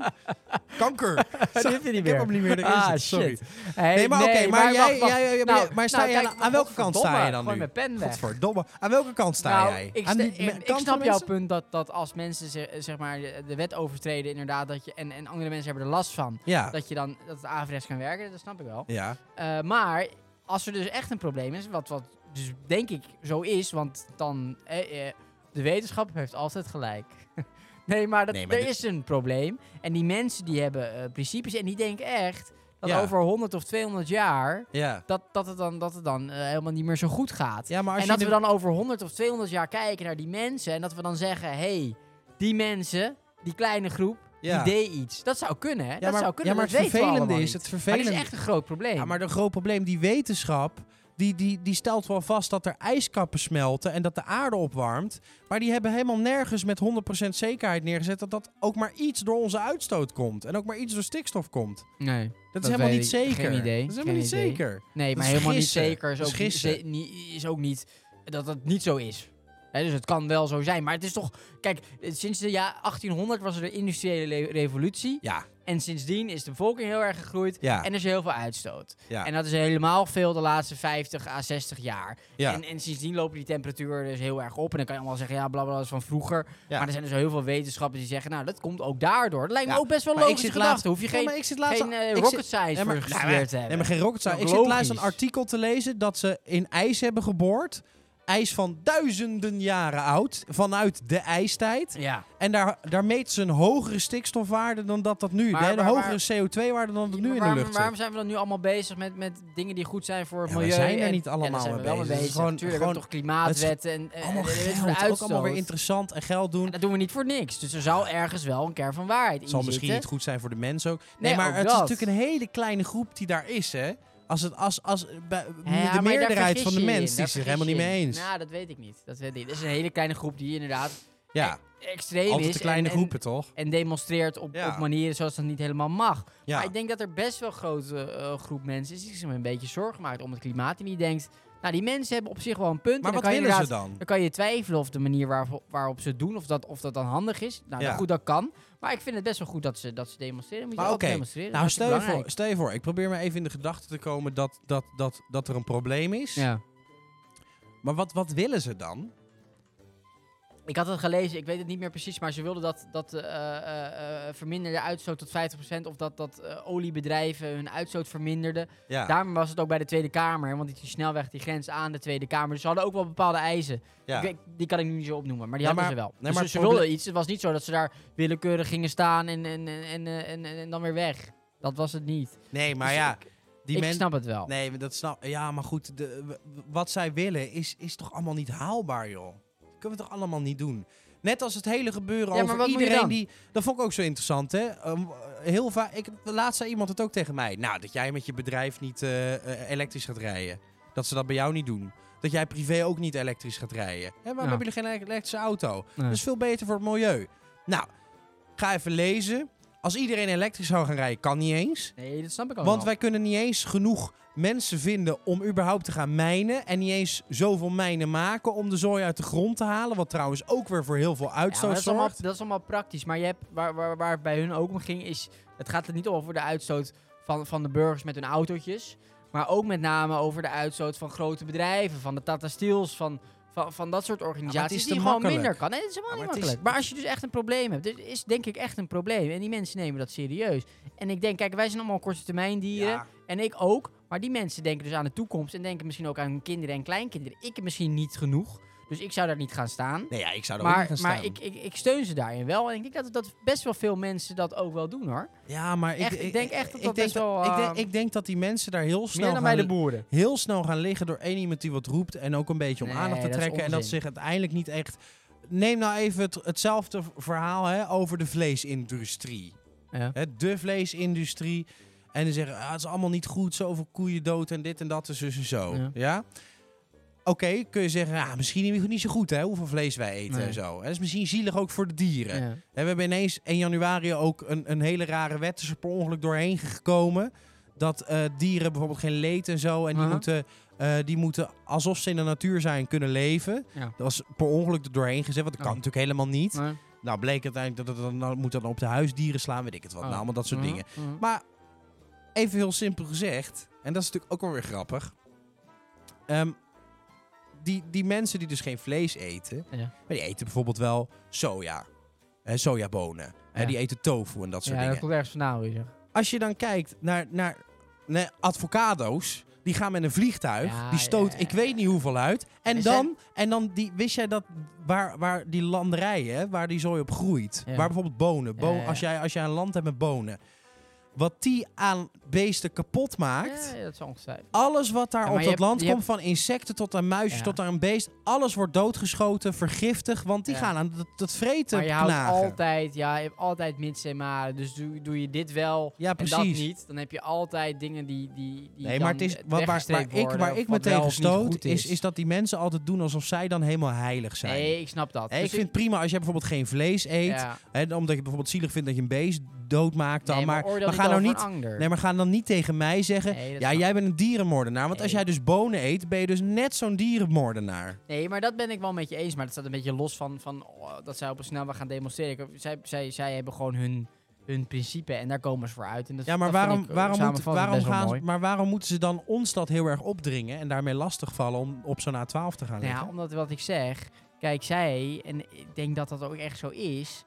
Speaker 1: Kanker.
Speaker 2: Dat heeft hij niet
Speaker 1: Ik heb hem niet meer erin
Speaker 2: Ah,
Speaker 1: zitten,
Speaker 2: shit.
Speaker 1: sorry.
Speaker 2: Hey,
Speaker 1: Nee, maar oké, maar
Speaker 2: wacht,
Speaker 1: jij-
Speaker 2: wacht. Nou,
Speaker 1: jij- jij- maar sta jij
Speaker 2: kijk,
Speaker 1: aan- aan welke kant sta
Speaker 2: godverdomme,
Speaker 1: je dan
Speaker 2: gooi
Speaker 1: nu?
Speaker 2: mijn pen weg.
Speaker 1: Godverdomme. Aan welke kant sta
Speaker 2: Nou,
Speaker 1: jij?
Speaker 2: Ik,
Speaker 1: Aan
Speaker 2: sta-
Speaker 1: die me-
Speaker 2: ik- ik
Speaker 1: kant van
Speaker 2: snap jouw
Speaker 1: mensen?
Speaker 2: punt dat, dat als mensen ze- eh, zeg maar, de de wet overtreden, inderdaad, dat je, en, en andere mensen hebben er last van,
Speaker 1: Ja.
Speaker 2: dat je dan dat het averechts kan werken, dat snap ik wel.
Speaker 1: Ja.
Speaker 2: Eh, maar als er dus echt een probleem is, wat, wat dus denk ik zo is, want dan eh, eh, de wetenschap heeft altijd gelijk. nee, maar, dat,
Speaker 1: Nee, maar
Speaker 2: er
Speaker 1: dit-
Speaker 2: is een probleem. En die mensen die hebben eh, principes en die denken echt dat
Speaker 1: Ja.
Speaker 2: over 100 of 200 jaar
Speaker 1: Ja.
Speaker 2: dat, dat het dan, dat het dan eh, helemaal niet meer zo goed gaat.
Speaker 1: Ja, maar als
Speaker 2: en
Speaker 1: je
Speaker 2: dat we
Speaker 1: nu-
Speaker 2: dan over 100 of 200 jaar kijken naar die mensen en dat we dan zeggen, hé, hey, die mensen, die kleine groep,
Speaker 1: Ja.
Speaker 2: die deed iets. Dat zou kunnen, hè?
Speaker 1: Ja,
Speaker 2: dat
Speaker 1: maar,
Speaker 2: zou kunnen,
Speaker 1: ja, maar het
Speaker 2: dat weten we
Speaker 1: vervelende
Speaker 2: allemaal
Speaker 1: is,
Speaker 2: niet.
Speaker 1: het
Speaker 2: Maar
Speaker 1: vervelende...
Speaker 2: dit is echt een groot probleem.
Speaker 1: Ja, maar een groot probleem, die wetenschap, die, die, die stelt wel vast dat er ijskappen smelten en dat de aarde opwarmt. Maar die hebben helemaal nergens met 100% zekerheid neergezet dat dat ook maar iets door onze uitstoot komt. en ook maar iets door stikstof komt. Dat,
Speaker 2: Nee.
Speaker 1: is
Speaker 2: Dat
Speaker 1: helemaal
Speaker 2: weet
Speaker 1: niet
Speaker 2: ik. Geen
Speaker 1: zeker.
Speaker 2: idee.
Speaker 1: Dat is helemaal
Speaker 2: Geen
Speaker 1: niet
Speaker 2: idee.
Speaker 1: zeker.
Speaker 2: Nee,
Speaker 1: Dat
Speaker 2: maar
Speaker 1: is
Speaker 2: helemaal
Speaker 1: gissen.
Speaker 2: niet zeker. Is
Speaker 1: Dat is
Speaker 2: ook, niet-
Speaker 1: gissen.
Speaker 2: ze- niet, is ook niet dat dat niet zo is. Hè, dus het kan wel zo zijn. Maar het is toch... Kijk, eh, sinds de jaar 1800 was er de industriële le- revolutie.
Speaker 1: Ja,
Speaker 2: En sindsdien is de bevolking heel erg gegroeid.
Speaker 1: ja,
Speaker 2: En er is heel veel uitstoot.
Speaker 1: ja.
Speaker 2: En dat is helemaal veel de laatste 50 à 60 jaar.
Speaker 1: ja.
Speaker 2: En, en sindsdien lopen die temperaturen dus heel erg op. En dan kan je allemaal zeggen, ja, blablabla, dat is van vroeger.
Speaker 1: Ja.
Speaker 2: Maar er zijn dus heel veel wetenschappers die zeggen, nou, dat komt ook daardoor. Dat lijkt me
Speaker 1: Ja,
Speaker 2: ook best wel
Speaker 1: maar ik
Speaker 2: logische
Speaker 1: zit laatst-
Speaker 2: gedachte. Hoef je
Speaker 1: Ja,
Speaker 2: geen,
Speaker 1: maar ik zit laatst-
Speaker 2: geen eh,
Speaker 1: ik zit-
Speaker 2: rocket science
Speaker 1: Nee, maar-
Speaker 2: voor
Speaker 1: nou,
Speaker 2: gestudeerd te hebben.
Speaker 1: Nee, maar geen rocket science.
Speaker 2: Ook
Speaker 1: Ik zit laatst een
Speaker 2: logisch.
Speaker 1: artikel te lezen dat ze in ijs hebben geboord. IJs van duizenden jaren oud, vanuit de ijstijd.
Speaker 2: Ja.
Speaker 1: En daar, daar meet ze een hogere stikstofwaarde dan dat dat nu.
Speaker 2: Maar-
Speaker 1: de hele
Speaker 2: maar-
Speaker 1: hogere CO2-waarde dan dat nu
Speaker 2: Ja, maar
Speaker 1: in de
Speaker 2: waarom,
Speaker 1: lucht zit.
Speaker 2: waarom zijn we dan nu allemaal bezig met, met dingen die goed zijn voor het
Speaker 1: Ja, we
Speaker 2: milieu?
Speaker 1: zijn er
Speaker 2: en-
Speaker 1: niet
Speaker 2: ja,
Speaker 1: allemaal
Speaker 2: daar zijn
Speaker 1: mee
Speaker 2: we wel
Speaker 1: bezig. Het is
Speaker 2: Gewoon,
Speaker 1: gewoon-
Speaker 2: Natuurlijk, we hebben toch
Speaker 1: het
Speaker 2: klimaatwetten en, en,
Speaker 1: Allemaal
Speaker 2: en- en- en- en-
Speaker 1: geld, ook allemaal weer
Speaker 2: uitstoot.
Speaker 1: interessant en geld
Speaker 2: En
Speaker 1: doen.
Speaker 2: Dat doen we niet voor niks. Dus er zou ergens wel een kern van waarheid in
Speaker 1: Het zal
Speaker 2: zitten.
Speaker 1: misschien niet goed zijn voor de mens ook. Nee,
Speaker 2: Nee,
Speaker 1: maar
Speaker 2: ook
Speaker 1: het is
Speaker 2: dat.
Speaker 1: natuurlijk een hele kleine groep die daar is, hè. Als het, als, als, bij-
Speaker 2: Ja, maar
Speaker 1: de
Speaker 2: daar
Speaker 1: meerderheid
Speaker 2: vergis
Speaker 1: van de
Speaker 2: je je in,
Speaker 1: mens die
Speaker 2: daar
Speaker 1: is er
Speaker 2: vergis
Speaker 1: helemaal niet
Speaker 2: je
Speaker 1: mee
Speaker 2: in.
Speaker 1: eens.
Speaker 2: Nou, dat weet ik niet. Dat weet ik. Het is een hele kleine groep die inderdaad
Speaker 1: Ja,
Speaker 2: extreem
Speaker 1: altijd
Speaker 2: is.
Speaker 1: de kleine
Speaker 2: en, en-
Speaker 1: groepen, toch?
Speaker 2: En demonstreert op,
Speaker 1: Ja.
Speaker 2: op manieren zoals dat niet helemaal mag.
Speaker 1: Ja.
Speaker 2: Maar ik denk dat er best wel een grote eh, groep mensen is die zich een beetje zorgen maakt om het klimaat. En die denkt, nou die mensen hebben op zich wel een punt.
Speaker 1: Maar
Speaker 2: en dan
Speaker 1: wat
Speaker 2: kan je
Speaker 1: willen ze
Speaker 2: inderdaad-
Speaker 1: dan?
Speaker 2: Dan kan je twijfelen of de manier waarop, waarop ze het doen, of dat, of dat dan handig is. Nou,
Speaker 1: Ja.
Speaker 2: dan goed, dat kan. Maar ik vind het best wel goed dat ze, dat ze demonstreren. Moet je
Speaker 1: Maar
Speaker 2: altijd
Speaker 1: oké,
Speaker 2: demonstreren.
Speaker 1: Nou,
Speaker 2: Dat is
Speaker 1: stel je, voor,
Speaker 2: belangrijk.
Speaker 1: stel je voor, ik probeer me even in de gedachten te komen dat, dat, dat, dat er een probleem is.
Speaker 2: Ja.
Speaker 1: Maar wat, wat willen ze dan?
Speaker 2: Ik had het gelezen, ik weet het niet meer precies, maar ze wilden dat, dat eh, eh, eh, verminderde uitstoot tot 50%, of dat, dat eh, oliebedrijven hun uitstoot verminderden.
Speaker 1: Ja,
Speaker 2: Daarom was het ook bij de Tweede Kamer, hè, want die snelweg die grenst aan de Tweede Kamer. Dus ze hadden ook wel bepaalde eisen.
Speaker 1: ja.
Speaker 2: Ik weet- die kan ik nu niet zo opnoemen, maar die
Speaker 1: Nee,
Speaker 2: hadden
Speaker 1: maar-
Speaker 2: ze wel.
Speaker 1: nee,
Speaker 2: dus
Speaker 1: maar
Speaker 2: ze- ze
Speaker 1: het proble-
Speaker 2: wilden iets. Het was niet zo dat ze daar willekeurig gingen staan en, en, en, en, eh, en, en, en dan weer weg. Dat was het niet.
Speaker 1: nee, maar
Speaker 2: Dus
Speaker 1: ja, die
Speaker 2: ik
Speaker 1: mensen.
Speaker 2: snap het wel.
Speaker 1: Nee, dat snap Ja, maar goed, de, w- w- wat zij willen is, is toch allemaal niet haalbaar, joh. Dat kunnen we toch allemaal niet doen? Net als het hele gebeuren
Speaker 2: Ja, maar
Speaker 1: over
Speaker 2: wat moet je
Speaker 1: iedereen
Speaker 2: dan?
Speaker 1: die... Dat vond ik ook zo interessant, hè? Um, heel vaak... Ik, laatst zei iemand het ook tegen mij. Nou, dat jij met je bedrijf niet eh, eh, elektrisch gaat rijden. Dat ze dat bij jou niet doen. Dat jij privé ook niet elektrisch gaat rijden. Hè, waarom
Speaker 2: Ja.
Speaker 1: hebben jullie geen ele- elektrische auto?
Speaker 2: Nee.
Speaker 1: Dat is veel beter voor het milieu. Nou, ga even lezen. Als iedereen elektrisch zou gaan rijden, kan niet eens.
Speaker 2: Nee, dat snap ik ook
Speaker 1: Want
Speaker 2: Oh, wel.
Speaker 1: wij kunnen niet eens genoeg mensen vinden om überhaupt te gaan mijnen. En niet eens zoveel mijnen maken om de zooi uit de grond te halen. Wat trouwens ook weer voor heel veel
Speaker 2: Ja, maar
Speaker 1: uitstoot
Speaker 2: dat, is allemaal,
Speaker 1: zorgt.
Speaker 2: dat is allemaal praktisch. Maar je hebt, waar, waar, waar het bij hun ook om ging, is... Het gaat er niet over de uitstoot van, van de burgers met hun autootjes. Maar ook met name over de uitstoot van grote bedrijven. Van de Tata Steels, van, van, van dat soort
Speaker 1: het
Speaker 2: organisaties
Speaker 1: is
Speaker 2: die
Speaker 1: te
Speaker 2: gewoon
Speaker 1: makkelijk.
Speaker 2: minder kan. Nee, dat is helemaal
Speaker 1: Ja,
Speaker 2: niet
Speaker 1: maar het is-
Speaker 2: makkelijk. Maar als je dus echt een probleem hebt. Dit is denk ik echt een probleem. En die mensen nemen dat serieus. En ik denk, kijk, wij zijn allemaal korte termijn dieren.
Speaker 1: Ja,
Speaker 2: En En ik ook. Maar die mensen denken dus aan de toekomst. En denken misschien ook aan hun kinderen en kleinkinderen. Ik heb misschien niet genoeg. Dus ik zou daar niet gaan staan.
Speaker 1: Nee, ja, ik zou er ook
Speaker 2: maar
Speaker 1: niet gaan
Speaker 2: maar
Speaker 1: staan.
Speaker 2: ik, ik, ik steun ze daarin wel. En ik denk dat, dat best wel veel mensen dat ook wel doen hoor.
Speaker 1: ja, maar
Speaker 2: echt, ik denk echt dat dat best wel,
Speaker 1: ik, denk,
Speaker 2: eh,
Speaker 1: ik denk dat die mensen daar heel snel
Speaker 2: Meer dan bij de
Speaker 1: gaan,
Speaker 2: boeren.
Speaker 1: heel snel gaan liggen door één iemand die wat roept en ook een beetje om
Speaker 2: Nee,
Speaker 1: aandacht te
Speaker 2: dat is
Speaker 1: trekken. En dat ze
Speaker 2: onzin.
Speaker 1: zich uiteindelijk niet echt. Neem nou even het, hetzelfde v- verhaal hè, over de vleesindustrie.
Speaker 2: Ja.
Speaker 1: Hè, de vleesindustrie. En dan zeggen, ah, het is allemaal niet goed, zoveel koeien dood en dit en dat en zus en zo.
Speaker 2: Ja.
Speaker 1: Ja? Oké, kun je zeggen, ah, misschien niet- niet zo goed hè, hoeveel vlees wij eten
Speaker 2: Nee.
Speaker 1: en zo. En dat is misschien zielig ook voor de dieren.
Speaker 2: Ja.
Speaker 1: En we hebben ineens 1 januari ook een, een hele rare wet is er per ongeluk doorheen gekomen. Dat eh, dieren bijvoorbeeld geen leed en zo. En die,
Speaker 2: Aha.
Speaker 1: moeten, eh, die moeten, alsof ze in de natuur zijn, kunnen leven.
Speaker 2: Ja.
Speaker 1: Dat is per ongeluk er doorheen gezet, want dat
Speaker 2: Oh.
Speaker 1: kan natuurlijk helemaal niet.
Speaker 2: Maar-
Speaker 1: Nou, bleek uiteindelijk dat het dan, nou, moet dat dan op de huisdieren slaan, weet ik het wat.
Speaker 2: Oh.
Speaker 1: Nou, allemaal dat soort
Speaker 2: Mhm,
Speaker 1: dingen.
Speaker 2: mhm.
Speaker 1: Maar even heel simpel gezegd, en dat is natuurlijk ook wel weer grappig. Ehm, die, die mensen die dus geen vlees eten,
Speaker 2: Ja.
Speaker 1: maar die eten bijvoorbeeld wel soja. hè, sojabonen. Hè,
Speaker 2: Ja.
Speaker 1: die eten tofu en dat soort
Speaker 2: ja, dat
Speaker 1: dingen.
Speaker 2: komt ergens vandaan weer. zeg.
Speaker 1: Als je dan kijkt naar, naar, naar avocado's, die gaan met een vliegtuig,
Speaker 2: Ja,
Speaker 1: die stoot
Speaker 2: ja,
Speaker 1: ik weet niet hoeveel uit. En
Speaker 2: is
Speaker 1: dan, en dan die, wist jij dat waar, waar die landerijen, waar die zooi op groeit,
Speaker 2: Ja.
Speaker 1: waar bijvoorbeeld bonen, bo-
Speaker 2: Ja, ja, ja.
Speaker 1: Als, jij, als jij een land hebt met bonen, wat die aan beesten kapot maakt,
Speaker 2: Ja, ja, dat is ongetwijfeld.
Speaker 1: alles wat daar
Speaker 2: Ja,
Speaker 1: op
Speaker 2: maar
Speaker 1: dat
Speaker 2: je hebt-
Speaker 1: land
Speaker 2: je
Speaker 1: komt, van insecten tot aan muisjes
Speaker 2: Ja.
Speaker 1: tot aan een beest, alles wordt doodgeschoten, vergiftig, want die
Speaker 2: Ja.
Speaker 1: gaan aan dat, dat vreten
Speaker 2: Maar je houdt
Speaker 1: knagen.
Speaker 2: altijd, ja, je hebt altijd mits en maren. Dus doe, doe je dit wel
Speaker 1: ja,
Speaker 2: en
Speaker 1: precies.
Speaker 2: dat niet, dan heb je altijd dingen die, die, die
Speaker 1: Nee,
Speaker 2: dan
Speaker 1: maar het is,
Speaker 2: eh,
Speaker 1: wa- waar, waar,
Speaker 2: weggestreept
Speaker 1: ik,
Speaker 2: worden
Speaker 1: waar
Speaker 2: of
Speaker 1: ik me
Speaker 2: wat wel of
Speaker 1: tegen
Speaker 2: niet
Speaker 1: stoot,
Speaker 2: goed
Speaker 1: is, is dat die mensen altijd doen alsof zij dan helemaal heilig zijn.
Speaker 2: Nee, ik snap dat.
Speaker 1: Hè, ik
Speaker 2: Dus
Speaker 1: vind het prima als jij bijvoorbeeld geen vlees eet.
Speaker 2: ja.
Speaker 1: Hè, omdat je bijvoorbeeld zielig vindt dat je een beest doodmaakt. Dan,
Speaker 2: Nee,
Speaker 1: maar
Speaker 2: oordeel
Speaker 1: maar ga nou
Speaker 2: over
Speaker 1: niet,
Speaker 2: een ander.
Speaker 1: nee, maar ga dan niet tegen mij zeggen.
Speaker 2: Nee, dat
Speaker 1: ja,
Speaker 2: snap
Speaker 1: jij bent een dierenmoordenaar. Want als
Speaker 2: Nee.
Speaker 1: jij dus bonen eet, ben je dus net zo'n dierenmoordenaar.
Speaker 2: Nee, maar dat ben ik wel met je eens. Maar dat staat een beetje los van, van oh, dat zij op een snelweg gaan demonstreren. Ik- Zij, zij, zij hebben gewoon hun, hun principe en daar komen ze voor uit. En dat,
Speaker 1: Ja, maar
Speaker 2: dat vind
Speaker 1: waarom,
Speaker 2: ik, eh,
Speaker 1: waarom, moet,
Speaker 2: samenvattend
Speaker 1: waarom
Speaker 2: best wel
Speaker 1: gaan,
Speaker 2: mooi.
Speaker 1: ze- maar waarom moeten ze dan ons dat heel erg opdringen en daarmee lastigvallen om op zo'n A12 te gaan
Speaker 2: Nou
Speaker 1: liggen?
Speaker 2: ja, omdat wat ik zeg, kijk, zij, en ik denk dat dat ook echt zo is,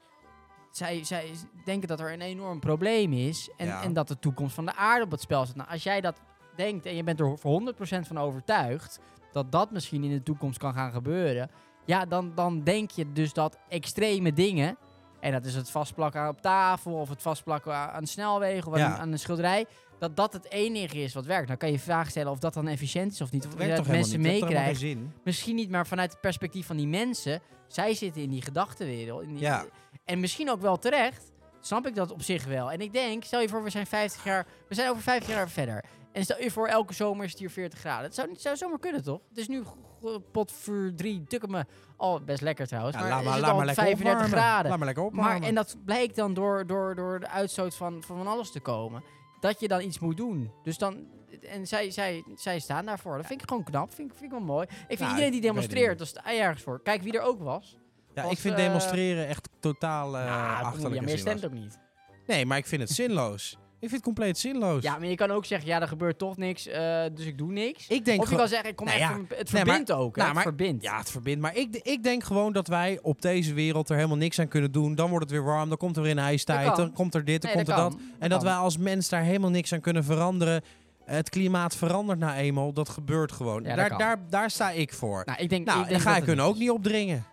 Speaker 2: zij, zij s- denken dat er een enorm probleem is en,
Speaker 1: Ja.
Speaker 2: en dat de toekomst van de aarde op het spel zit. Nou, als jij dat denkt en je bent er voor 100% van overtuigd dat dat misschien in de toekomst kan gaan gebeuren, ja, dan, dan denk je dus dat extreme dingen, en dat is het vastplakken aan op tafel of het vastplakken a- aan de snelweg of
Speaker 1: Ja.
Speaker 2: aan, aan een schilderij, dat dat het enige is wat werkt. Nou kan je je vraag stellen of dat dan efficiënt is of niet, of
Speaker 1: Dat werkt
Speaker 2: inderdaad
Speaker 1: toch helemaal
Speaker 2: mensen
Speaker 1: niet? Dat heeft toch helemaal
Speaker 2: meekrijgen
Speaker 1: geen zin?
Speaker 2: misschien niet, maar vanuit het perspectief van die mensen, zij zitten in die gedachtenwereld. in die-
Speaker 1: Ja.
Speaker 2: En misschien ook wel terecht, snap ik dat op zich wel. En ik denk, stel je voor, we zijn 50 jaar, we zijn over 50 jaar verder. En stel je voor, elke zomer is het hier 40 graden. Het zou, niet- zou zomaar kunnen, toch? Het is nu g- g- pot voor drie, tukken me. Al best lekker trouwens.
Speaker 1: Ja,
Speaker 2: maar
Speaker 1: laat
Speaker 2: is
Speaker 1: maar,
Speaker 2: het
Speaker 1: laat
Speaker 2: al
Speaker 1: maar lekker
Speaker 2: 35
Speaker 1: opwarmen.
Speaker 2: graden.
Speaker 1: Laat maar lekker
Speaker 2: Maar,
Speaker 1: opwarmen.
Speaker 2: en dat blijkt dan door, door, door de uitstoot van, van van alles te komen. Dat je dan iets moet doen. Dus dan, en zij, zij, zij staan daarvoor. Dat vind ik gewoon knap. Vind, ik- vind ik wel mooi. Ik vind
Speaker 1: Ja,
Speaker 2: iedereen die
Speaker 1: Nou, ik weet het
Speaker 2: demonstreert,
Speaker 1: niet.
Speaker 2: dat staat ergens voor. Kijk wie er ook was.
Speaker 1: Ja,
Speaker 2: Als,
Speaker 1: ik vind
Speaker 2: eh,
Speaker 1: demonstreren echt totaal eh
Speaker 2: Ah, kom op, ja,
Speaker 1: achterlijk. en
Speaker 2: meer
Speaker 1: zinloos.
Speaker 2: stemt ook niet.
Speaker 1: Nee, maar ik vind het zinloos. Ik vind het compleet zinloos.
Speaker 2: Ja, maar je kan ook zeggen, ja, er gebeurt toch niks, eh, dus ik doe niks.
Speaker 1: ik denk
Speaker 2: of je
Speaker 1: gewoon-
Speaker 2: kan zeggen, ik kom
Speaker 1: Nou
Speaker 2: echt,
Speaker 1: ja,
Speaker 2: van- het
Speaker 1: nee,
Speaker 2: verbindt ook. hè,
Speaker 1: nou,
Speaker 2: het
Speaker 1: maar-
Speaker 2: verbindt.
Speaker 1: ja, het verbindt. Maar ik, ik denk gewoon dat wij op deze wereld er helemaal niks aan kunnen doen. Dan wordt het weer warm, dan komt er weer een
Speaker 2: Dat
Speaker 1: ijstijd,
Speaker 2: kan.
Speaker 1: dan komt er dit, dan
Speaker 2: Nee,
Speaker 1: komt er dat.
Speaker 2: kan.
Speaker 1: En dat
Speaker 2: kan.
Speaker 1: wij als mens daar helemaal niks aan kunnen veranderen. Het klimaat verandert nou eenmaal, dat gebeurt gewoon.
Speaker 2: Ja, dat
Speaker 1: daar,
Speaker 2: kan.
Speaker 1: daar, daar sta ik voor. Nou,
Speaker 2: Nou, ik denk, ik
Speaker 1: dan
Speaker 2: denk
Speaker 1: ga
Speaker 2: dat
Speaker 1: ik
Speaker 2: het
Speaker 1: hun
Speaker 2: is.
Speaker 1: ook niet opdringen.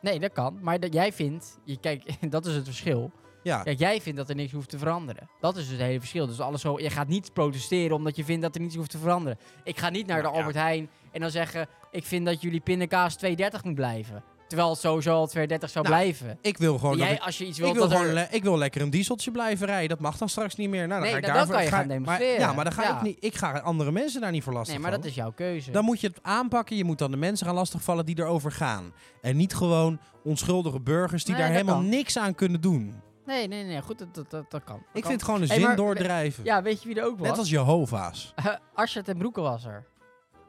Speaker 2: Nee, dat kan. Maar dat jij vindt, je, kijk, dat is het verschil.
Speaker 1: Ja.
Speaker 2: Kijk, jij vindt dat er niks hoeft te veranderen. Dat is dus het hele verschil. Dus alles zo, je gaat niet protesteren omdat je vindt dat er niets hoeft te veranderen. Ik ga niet naar de
Speaker 1: Nou, ja.
Speaker 2: Albert Heijn en dan zeggen... ik vind dat jullie pindakaas 2,30 moet blijven. Terwijl het sowieso al 2,30 zou blijven.
Speaker 1: Ik wil Nou, gewoon. dat
Speaker 2: Jij,
Speaker 1: ik,
Speaker 2: als je iets
Speaker 1: ik
Speaker 2: wilt
Speaker 1: wil
Speaker 2: dat
Speaker 1: gewoon
Speaker 2: er...
Speaker 1: le- ik wil lekker een dieseltje blijven rijden. Dat mag dan straks niet meer. Nou, dan
Speaker 2: Nee,
Speaker 1: ga ik
Speaker 2: dan- dan
Speaker 1: daarvoor.
Speaker 2: kan je
Speaker 1: ga
Speaker 2: gaan
Speaker 1: ik- maar-
Speaker 2: demonstreren.
Speaker 1: ja, maar dan ga
Speaker 2: Ja.
Speaker 1: ik niet. Ik ga andere mensen daar niet voor lastig
Speaker 2: Nee, maar dat is jouw keuze.
Speaker 1: Dan moet je het aanpakken. Je moet dan de mensen gaan lastigvallen die erover gaan. En niet gewoon onschuldige burgers die
Speaker 2: Nee,
Speaker 1: daar
Speaker 2: dat
Speaker 1: helemaal
Speaker 2: kan.
Speaker 1: niks aan kunnen doen.
Speaker 2: Nee, nee, nee. Goed, dat, dat, dat, dat kan. Dat
Speaker 1: Ik
Speaker 2: kan.
Speaker 1: vind het gewoon een
Speaker 2: Hey,
Speaker 1: zin
Speaker 2: maar-
Speaker 1: doordrijven.
Speaker 2: Ja, weet je wie er ook was?
Speaker 1: Net als Jehovah's.
Speaker 2: Asja ten Broeke was er.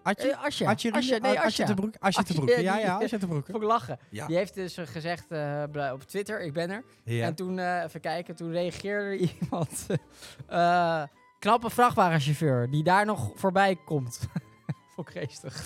Speaker 1: Adje,
Speaker 2: Eh, Asja.
Speaker 1: Adje,
Speaker 2: Asja, nee,
Speaker 1: Adje
Speaker 2: Asja.
Speaker 1: te broek. Adje te
Speaker 2: Adje,
Speaker 1: broek. Ja,
Speaker 2: die-
Speaker 1: ja, Adje te broek.
Speaker 2: Ik vond ik lachen.
Speaker 1: Ja.
Speaker 2: Die heeft dus eh, gezegd eh, bla- op Twitter, ik ben er.
Speaker 1: Ja.
Speaker 2: En toen, eh, even kijken, toen reageerde iemand. eh, knappe vrachtwagenchauffeur die daar nog voorbij komt. Vond ik geestig.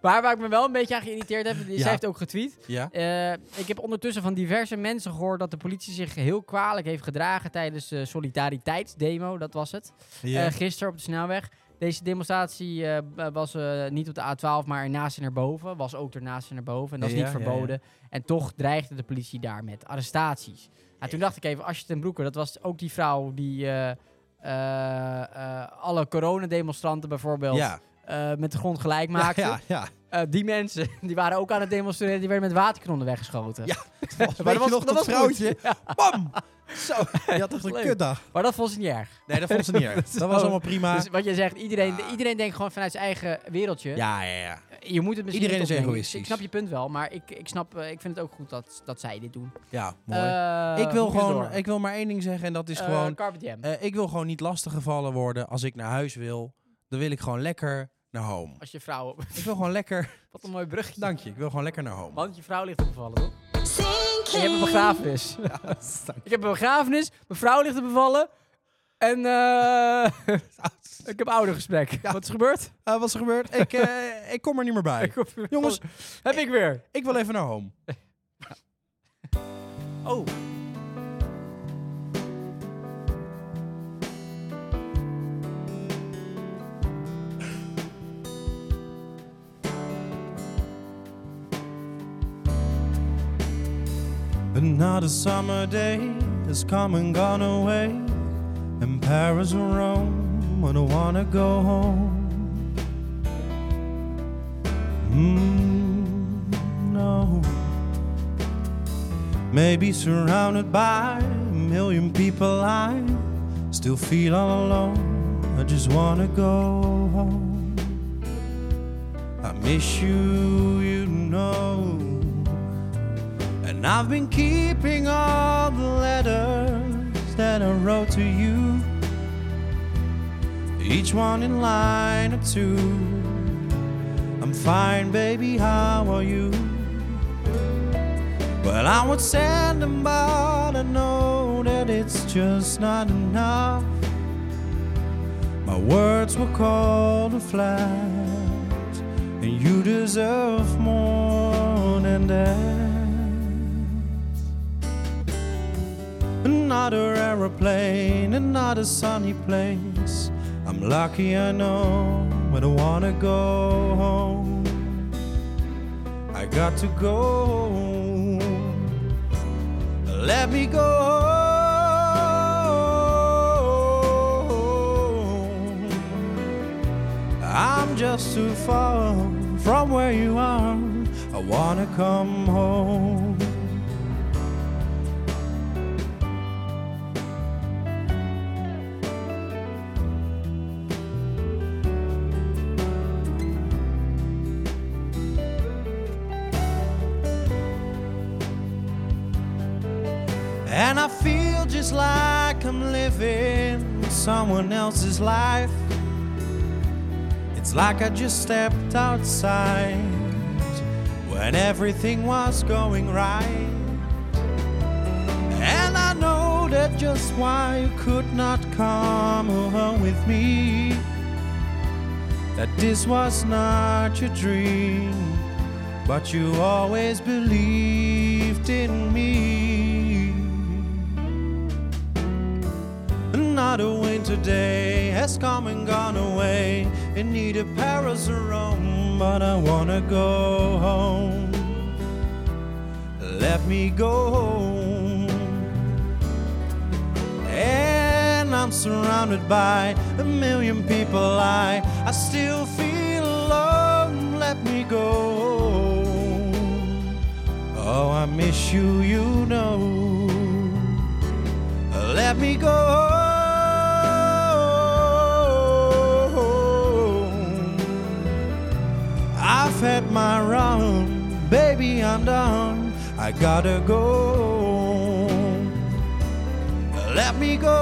Speaker 2: Maar waar ik me wel een beetje aan geïrriteerd heb, die-
Speaker 1: Ja.
Speaker 2: zij heeft ook getweet.
Speaker 1: Ja?
Speaker 2: Eh, ik heb ondertussen van diverse mensen gehoord dat de politie zich heel kwalijk heeft gedragen tijdens de solidariteitsdemo, dat was het.
Speaker 1: Ja.
Speaker 2: Eh, gisteren op de snelweg. Deze demonstratie eh, b- was eh, niet op de A12, maar ernaast en erboven. Was ook ernaast en erboven. En dat is
Speaker 1: Ja,
Speaker 2: niet
Speaker 1: ja, ja.
Speaker 2: verboden. En toch dreigde de politie daar met arrestaties. En toen dacht ik even, Asje ten Broeke, dat was ook die vrouw die eh, eh, eh, alle coronademonstranten bijvoorbeeld
Speaker 1: ja.
Speaker 2: eh, met de grond gelijk maakte.
Speaker 1: Ja, ja.
Speaker 2: Eh, die mensen, die waren ook aan het demonstreren, die werden met waterkanonnen weggeschoten.
Speaker 1: Ja, Maar dat
Speaker 2: was-
Speaker 1: nog
Speaker 2: dat
Speaker 1: dat
Speaker 2: was
Speaker 1: vrouwtje? Bam! Zo, je had echt een
Speaker 2: Leuk.
Speaker 1: kutdag.
Speaker 2: Maar dat vond ze niet erg.
Speaker 1: Nee, dat vond ze niet erg. Dat was allemaal prima.
Speaker 2: Dus wat jij zegt, iedereen,
Speaker 1: Ja.
Speaker 2: iedereen denkt gewoon vanuit zijn eigen wereldje.
Speaker 1: Ja, ja, ja.
Speaker 2: Je moet het misschien
Speaker 1: Iedereen
Speaker 2: niet
Speaker 1: is
Speaker 2: opnemen.
Speaker 1: egoïstisch.
Speaker 2: Ik, ik snap je punt wel, maar ik, ik, snap, eh, ik vind het ook goed dat, dat zij dit doen.
Speaker 1: Ja, mooi.
Speaker 2: Eh,
Speaker 1: ik wil
Speaker 2: moet je
Speaker 1: gewoon,
Speaker 2: door.
Speaker 1: ik wil maar één ding zeggen en dat is
Speaker 2: Eh,
Speaker 1: gewoon,
Speaker 2: Carpe diem.
Speaker 1: eh, ik wil gewoon niet lastiggevallen worden als ik naar huis wil. Dan wil ik gewoon lekker naar home.
Speaker 2: Als je vrouw...
Speaker 1: Ik wil gewoon lekker,
Speaker 2: Wat een mooi brugje.
Speaker 1: dank je, ik wil gewoon lekker naar home.
Speaker 2: Want je vrouw ligt opgevallen, toch? En je
Speaker 4: Sinking.
Speaker 2: hebt een begrafenis.
Speaker 1: Dank
Speaker 2: Ik heb een begrafenis, mijn vrouw ligt er bevallen. En eh,
Speaker 1: je.
Speaker 2: ik heb oudergesprek. Wat is er gebeurd?
Speaker 1: Eh, wat is er gebeurd? Ik, eh, ik kom er niet meer bij.
Speaker 2: Ik heb-
Speaker 1: Jongens,
Speaker 2: heb ik weer.
Speaker 1: ik wil even naar home.
Speaker 2: Oh.
Speaker 1: Another summer day has come and gone away. In Paris or Rome, I don't wanna go home. Mm, no. Maybe surrounded by a million people, I still feel all alone. I just wanna go home. I miss you, you know. And I've been keeping all the letters that I wrote to you, each one in line or two. I'm fine, baby, how are you? Well, I would send them, but I know that it's just not enough. My words were cold and flat, and you deserve more than that. Another aeroplane, another sunny place. I'm lucky I know, but I wanna go home. I got to go home. Let me go home. I'm just too far from where you are. I wanna come home. And I feel just like I'm living someone else's life. It's like I just stepped outside when everything was going right. And I know that just why you could not come home with me. That this was not your dream but you always believed in me. Another winter day has come and gone away. In neither Paris or Rome, but I wanna go home. Let me go home. And I'm surrounded by a million people. I, I still feel alone. Let me go. Oh, I miss you, you know. Let me go. I've had my run, baby, I'm done. I gotta go. Let me go.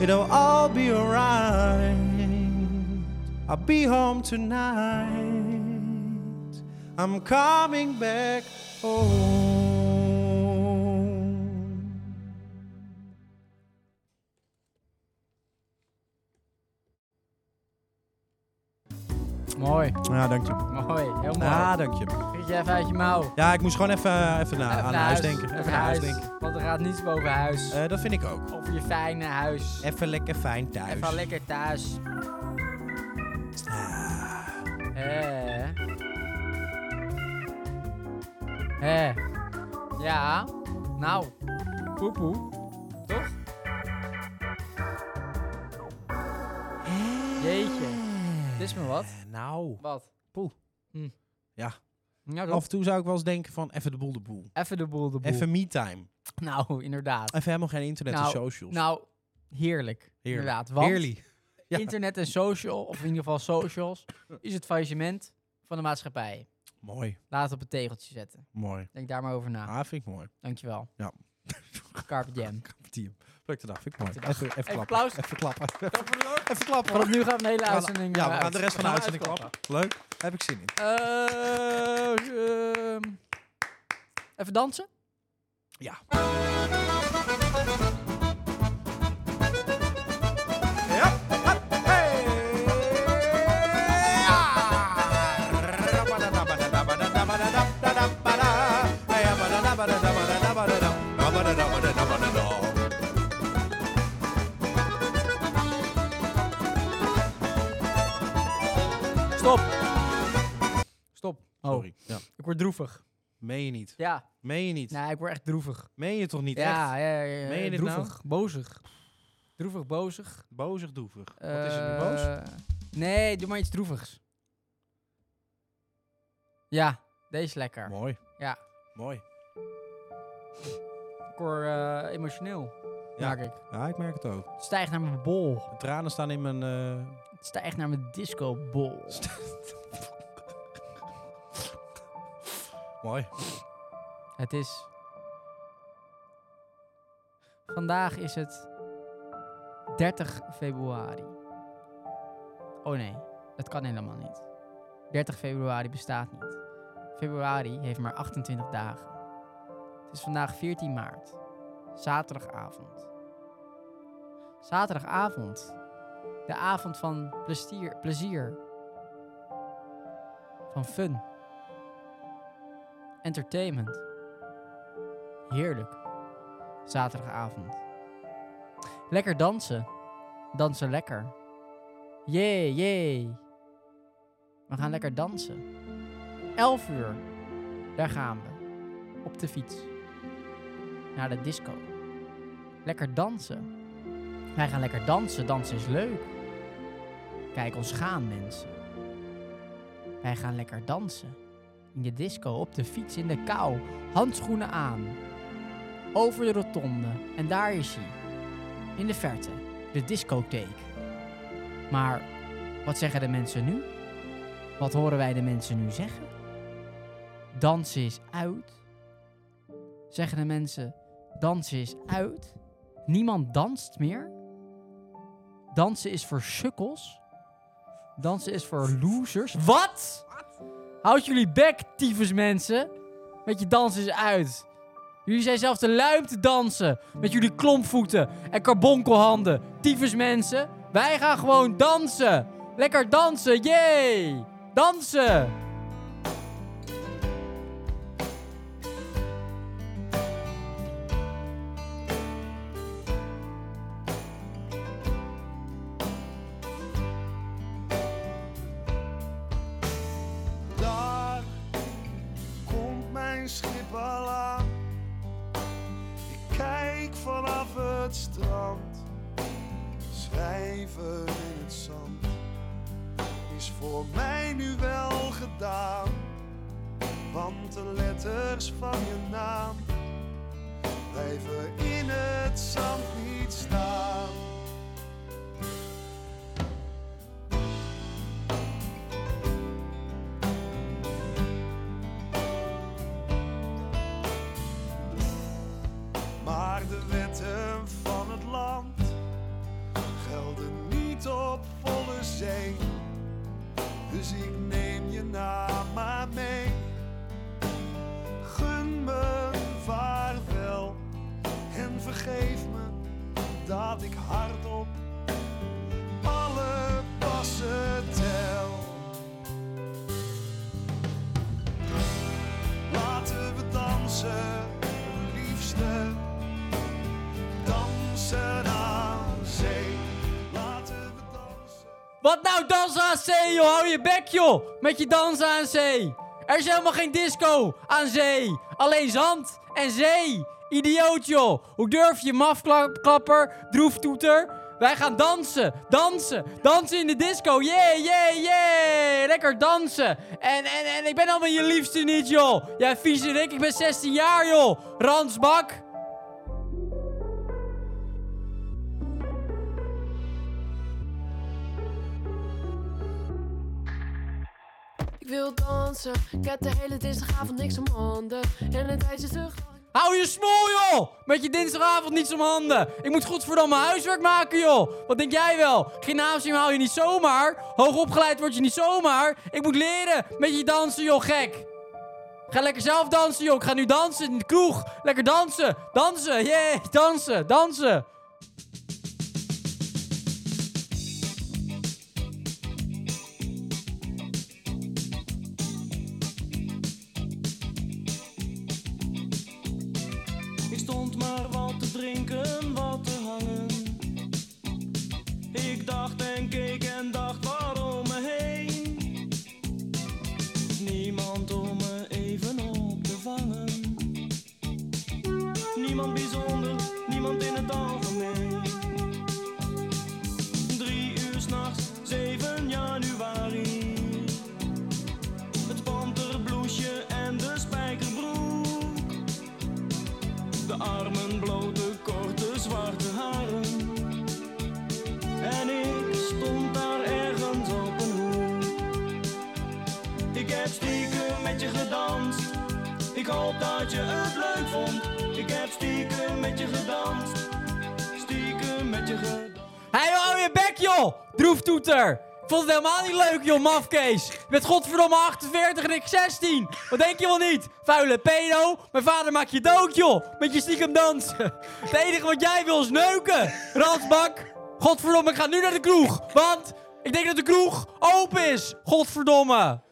Speaker 1: It'll all be alright. I'll be home tonight. I'm coming back home.
Speaker 2: Mooi,
Speaker 1: Ja, dank je.
Speaker 2: mooi. Heel mooi.
Speaker 1: Ja, dank je.
Speaker 2: Prik je even uit je mouw.
Speaker 1: Ja, ik moest gewoon even, even, na,
Speaker 2: Even
Speaker 1: aan
Speaker 2: naar
Speaker 1: huis
Speaker 2: huis.
Speaker 1: denken.
Speaker 2: Even
Speaker 1: Even
Speaker 2: naar
Speaker 1: huis
Speaker 2: huis.
Speaker 1: denken.
Speaker 2: Want er gaat niets boven huis.
Speaker 1: Eh, dat vind ik ook.
Speaker 2: Of je fijne huis.
Speaker 1: Even lekker fijn thuis.
Speaker 2: Even lekker thuis.
Speaker 1: Ah.
Speaker 2: Hé. Hé. Ja. Nou. Poepoe. Toch? Jeetje. Het is me wat.
Speaker 1: Nou,
Speaker 2: Wat?
Speaker 1: Poeh.
Speaker 2: Hm.
Speaker 1: Ja.
Speaker 2: Nou,
Speaker 1: af en toe zou ik wel eens denken van even de boel de boel.
Speaker 2: Even de boel de boel.
Speaker 1: Even me-time.
Speaker 2: Nou, inderdaad.
Speaker 1: Even helemaal geen internet en
Speaker 2: Nou,
Speaker 1: socials.
Speaker 2: Nou, heerlijk. Inderdaad. Want
Speaker 1: Heerlijk. Ja.
Speaker 2: internet en social, of in ieder geval socials, is het faillissement van de maatschappij.
Speaker 1: Mooi,
Speaker 2: Laat het op het tegeltje zetten.
Speaker 1: mooi.
Speaker 2: Denk daar maar over na.
Speaker 1: Ah, vind ik mooi.
Speaker 2: Dankjewel.
Speaker 1: Ja.
Speaker 2: Carpe diem.
Speaker 1: Team. Plukte dag, vind ik mooi.
Speaker 2: Pluk de
Speaker 1: Even,
Speaker 2: dag.
Speaker 1: even,
Speaker 2: Even
Speaker 1: klappen.
Speaker 2: applaus.
Speaker 1: Even klappen. Even klappen.
Speaker 2: Vanaf nu gaan we een hele
Speaker 1: Ja,
Speaker 2: uitzending
Speaker 1: Ja,
Speaker 2: eh,
Speaker 1: we gaan
Speaker 2: uit.
Speaker 1: de rest van de
Speaker 2: We gaan
Speaker 1: uitzending klappen. Leuk. Daar heb ik zin in.
Speaker 2: uitklappen. Eh, ehm, even dansen?
Speaker 1: Ja.
Speaker 2: Stop. Stop. Oh,
Speaker 1: Sorry. Ja.
Speaker 2: ik word droevig.
Speaker 1: Meen je niet?
Speaker 2: Ja,
Speaker 1: Meen je niet?
Speaker 2: nee, ik word echt droevig.
Speaker 1: Meen je toch niet echt?
Speaker 2: ja, ja, ja, ja,
Speaker 1: Meen je dit nou?
Speaker 2: droevig, bozig. Droevig, bozig.
Speaker 1: Bozig, droevig. Wat is het nu boos?
Speaker 2: Eh, Nee, doe maar iets droevigs. Ja, deze is lekker.
Speaker 1: Mooi.
Speaker 2: Ja.
Speaker 1: Mooi.
Speaker 2: Ik word eh, emotioneel,
Speaker 1: Ja.
Speaker 2: merk ik.
Speaker 1: Ja, ik merk het ook.
Speaker 2: Het stijgt naar mijn bol.
Speaker 1: De tranen staan in mijn... eh,
Speaker 2: Het stijgt naar mijn disco-bol.
Speaker 1: Mooi.
Speaker 2: Het is... Vandaag is het 30 februari. Oh nee, dat kan helemaal niet. 30 februari bestaat niet. Februari heeft maar 28 dagen. Het is vandaag 14 maart, zaterdagavond. Zaterdagavond, de avond van plezier, plezier. van fun, entertainment. Heerlijk. Zaterdagavond. Lekker dansen. Dansen lekker. Jee, jee. We gaan lekker dansen. 11 uur. Daar gaan we. Op de fiets. Naar de disco. Lekker dansen. Wij gaan lekker dansen. Dansen is leuk. Kijk ons gaan, mensen. Wij gaan lekker dansen. In de disco, op de fiets, in de kou. Handschoenen aan. Over de rotonde. En daar is hij. In de verte. De discotheek. Maar wat zeggen de mensen nu? Wat horen wij de mensen nu zeggen? Dansen is uit. Zeggen de mensen, dansen is uit. Niemand danst meer. Dansen is voor sukkels. Dansen is voor losers. Wat? Houd jullie bek, tyfus mensen. Met je dansen is uit. Jullie zijn zelfs te luim te dansen. Met jullie klompvoeten en karbonkelhanden. Tyfus mensen. Wij gaan gewoon dansen. Lekker dansen, jee. Dansen.
Speaker 5: Daar komt mijn schip al aan. Ik kijk vanaf het strand. Schrijven in het zand is voor mij nu wel gedaan. Want de letters van je naam blijven in het zand niet staan. Maar de wetten van het land gelden niet op volle zee. Dus ik neem je naam maar mee. Gun me een vaarwel en vergeef me dat ik hardop alle passen tel.
Speaker 2: Wat nou dansen aan zee, joh? Hou je bek, joh. Met je dansen aan zee. Er is helemaal geen disco aan zee. Alleen zand en zee. Idioot, joh. Hoe durf je, mafklapper, droeftoeter? Wij gaan dansen, dansen, dansen in de disco. Yeah, yeah, yeah. Lekker dansen. En, en, en ik ben allemaal je liefste niet, joh. Jij vieze Rick, ik ben 16 jaar, joh. Ransbak.
Speaker 6: Ik wil dansen, ik heb de hele dinsdagavond niks om handen. En het ijs is terug.
Speaker 2: Hou je smoel, joh! Met je dinsdagavond niets om handen. Ik moet godverdomme huiswerk maken, joh. Wat denk jij wel? Gymnasium hou je niet zomaar. Hoogopgeleid word je niet zomaar. Ik moet leren met je dansen, joh, gek. Ga lekker zelf dansen, joh. Ik ga nu dansen in de kroeg. Lekker dansen, dansen, yeah, dansen, dansen.
Speaker 7: Ik stond maar wat te drinken, wat te hangen. Ik dacht en keek en dacht waarom me heen. Niemand om me even op te vangen. Niemand bijzonder, niemand in het algemeen. Drie uur s'nachts, 7 januari. Het panterbloesje en de spijkerbroek. De armen blote, korte, zwarte haren. En ik stond daar ergens op een hoek. Ik heb stiekem met je gedanst. Ik hoop dat je het leuk vond. Ik heb stiekem met je gedanst. Stiekem met je gedanst.
Speaker 2: Hé, hey, hou je bek, joh! Droeftoeter! Ik vond het helemaal niet leuk, joh, mafkees. Je bent godverdomme 48 en ik 16. Wat denk je wel niet? Vuile pedo. Mijn vader maakt je dood, joh. Met je stiekem dansen. Het enige wat jij wil is neuken. Ransbak. Godverdomme, ik ga nu naar de kroeg. Want ik denk dat de kroeg open is. Godverdomme.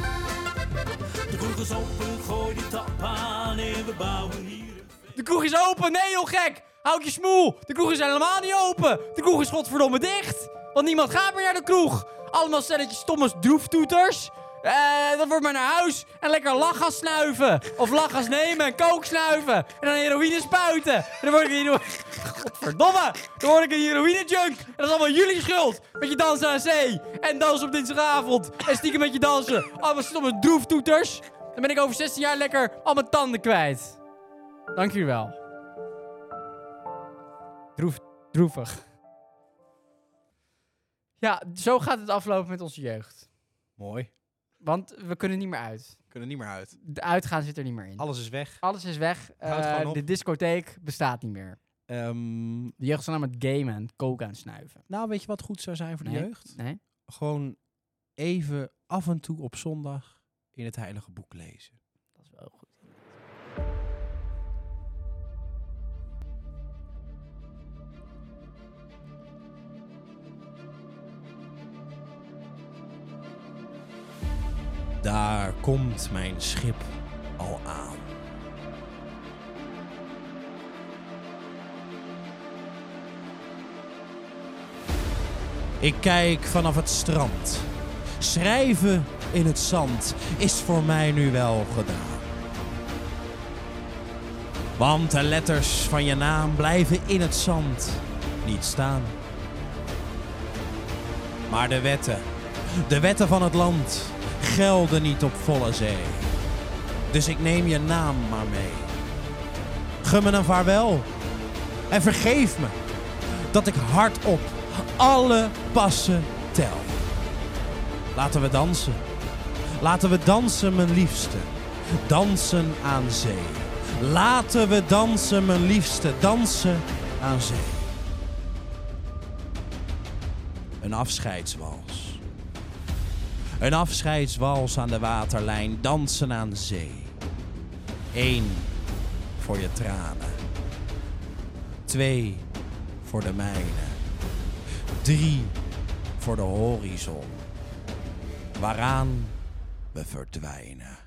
Speaker 7: De kroeg is open, gooi die tap aan en we bouwen hier een
Speaker 2: De kroeg is open. Nee, joh, gek. Houd je smoel. De kroeg is helemaal niet open. De kroeg is godverdomme dicht. Want niemand gaat meer naar de kroeg. Allemaal stelletjes stomme droeftoeters. Eh, dat wordt maar naar huis. En lekker lachgas snuiven. Of lachgas nemen en kook snuiven. En dan heroïne spuiten. En dan word ik een hero- Godverdomme. Dan word ik een heroïne junk. En dat is allemaal jullie schuld. Met je dansen aan zee. En dansen op dinsdagavond. En stiekem met je dansen. Allemaal stomme droeftoeters. Dan ben ik over 16 jaar lekker al mijn tanden kwijt. Dank jullie wel. Droef, droevig. Ja, zo gaat het aflopen met onze jeugd.
Speaker 1: Mooi.
Speaker 2: Want we kunnen niet meer uit.
Speaker 1: Kunnen niet meer uit.
Speaker 2: De uitgaan zit er niet meer in.
Speaker 1: Alles is weg.
Speaker 2: Alles is weg.
Speaker 1: Houdt
Speaker 2: Eh,
Speaker 1: gewoon op.
Speaker 2: de discotheek bestaat niet meer.
Speaker 1: Ehm,
Speaker 2: De jeugd is alleen maar aan het gamen en coke aan het snuiven.
Speaker 1: nou, weet je wat goed zou zijn voor
Speaker 2: Nee.
Speaker 1: de jeugd?
Speaker 2: Nee?
Speaker 1: Gewoon even af en toe op zondag in het Heilige Boek lezen.
Speaker 2: Dat is wel goed.
Speaker 1: Daar komt mijn schip al aan. Ik kijk vanaf het strand. Schrijven in het zand is voor mij nu wel gedaan. Want de letters van je naam blijven in het zand niet staan. Maar de wetten, de wetten van het land, gelden niet op volle zee. Dus ik neem je naam maar mee. Gun me een vaarwel en vergeef me dat ik hardop alle passen tel. Laten we dansen. Laten we dansen, mijn liefste. Dansen aan zee. Laten we dansen, mijn liefste. Dansen aan zee. Een afscheidswals. Een afscheidswals aan de waterlijn, dansen aan zee. Eén voor je tranen. Twee voor de mijne. Drie voor de horizon. Waaraan we verdwijnen.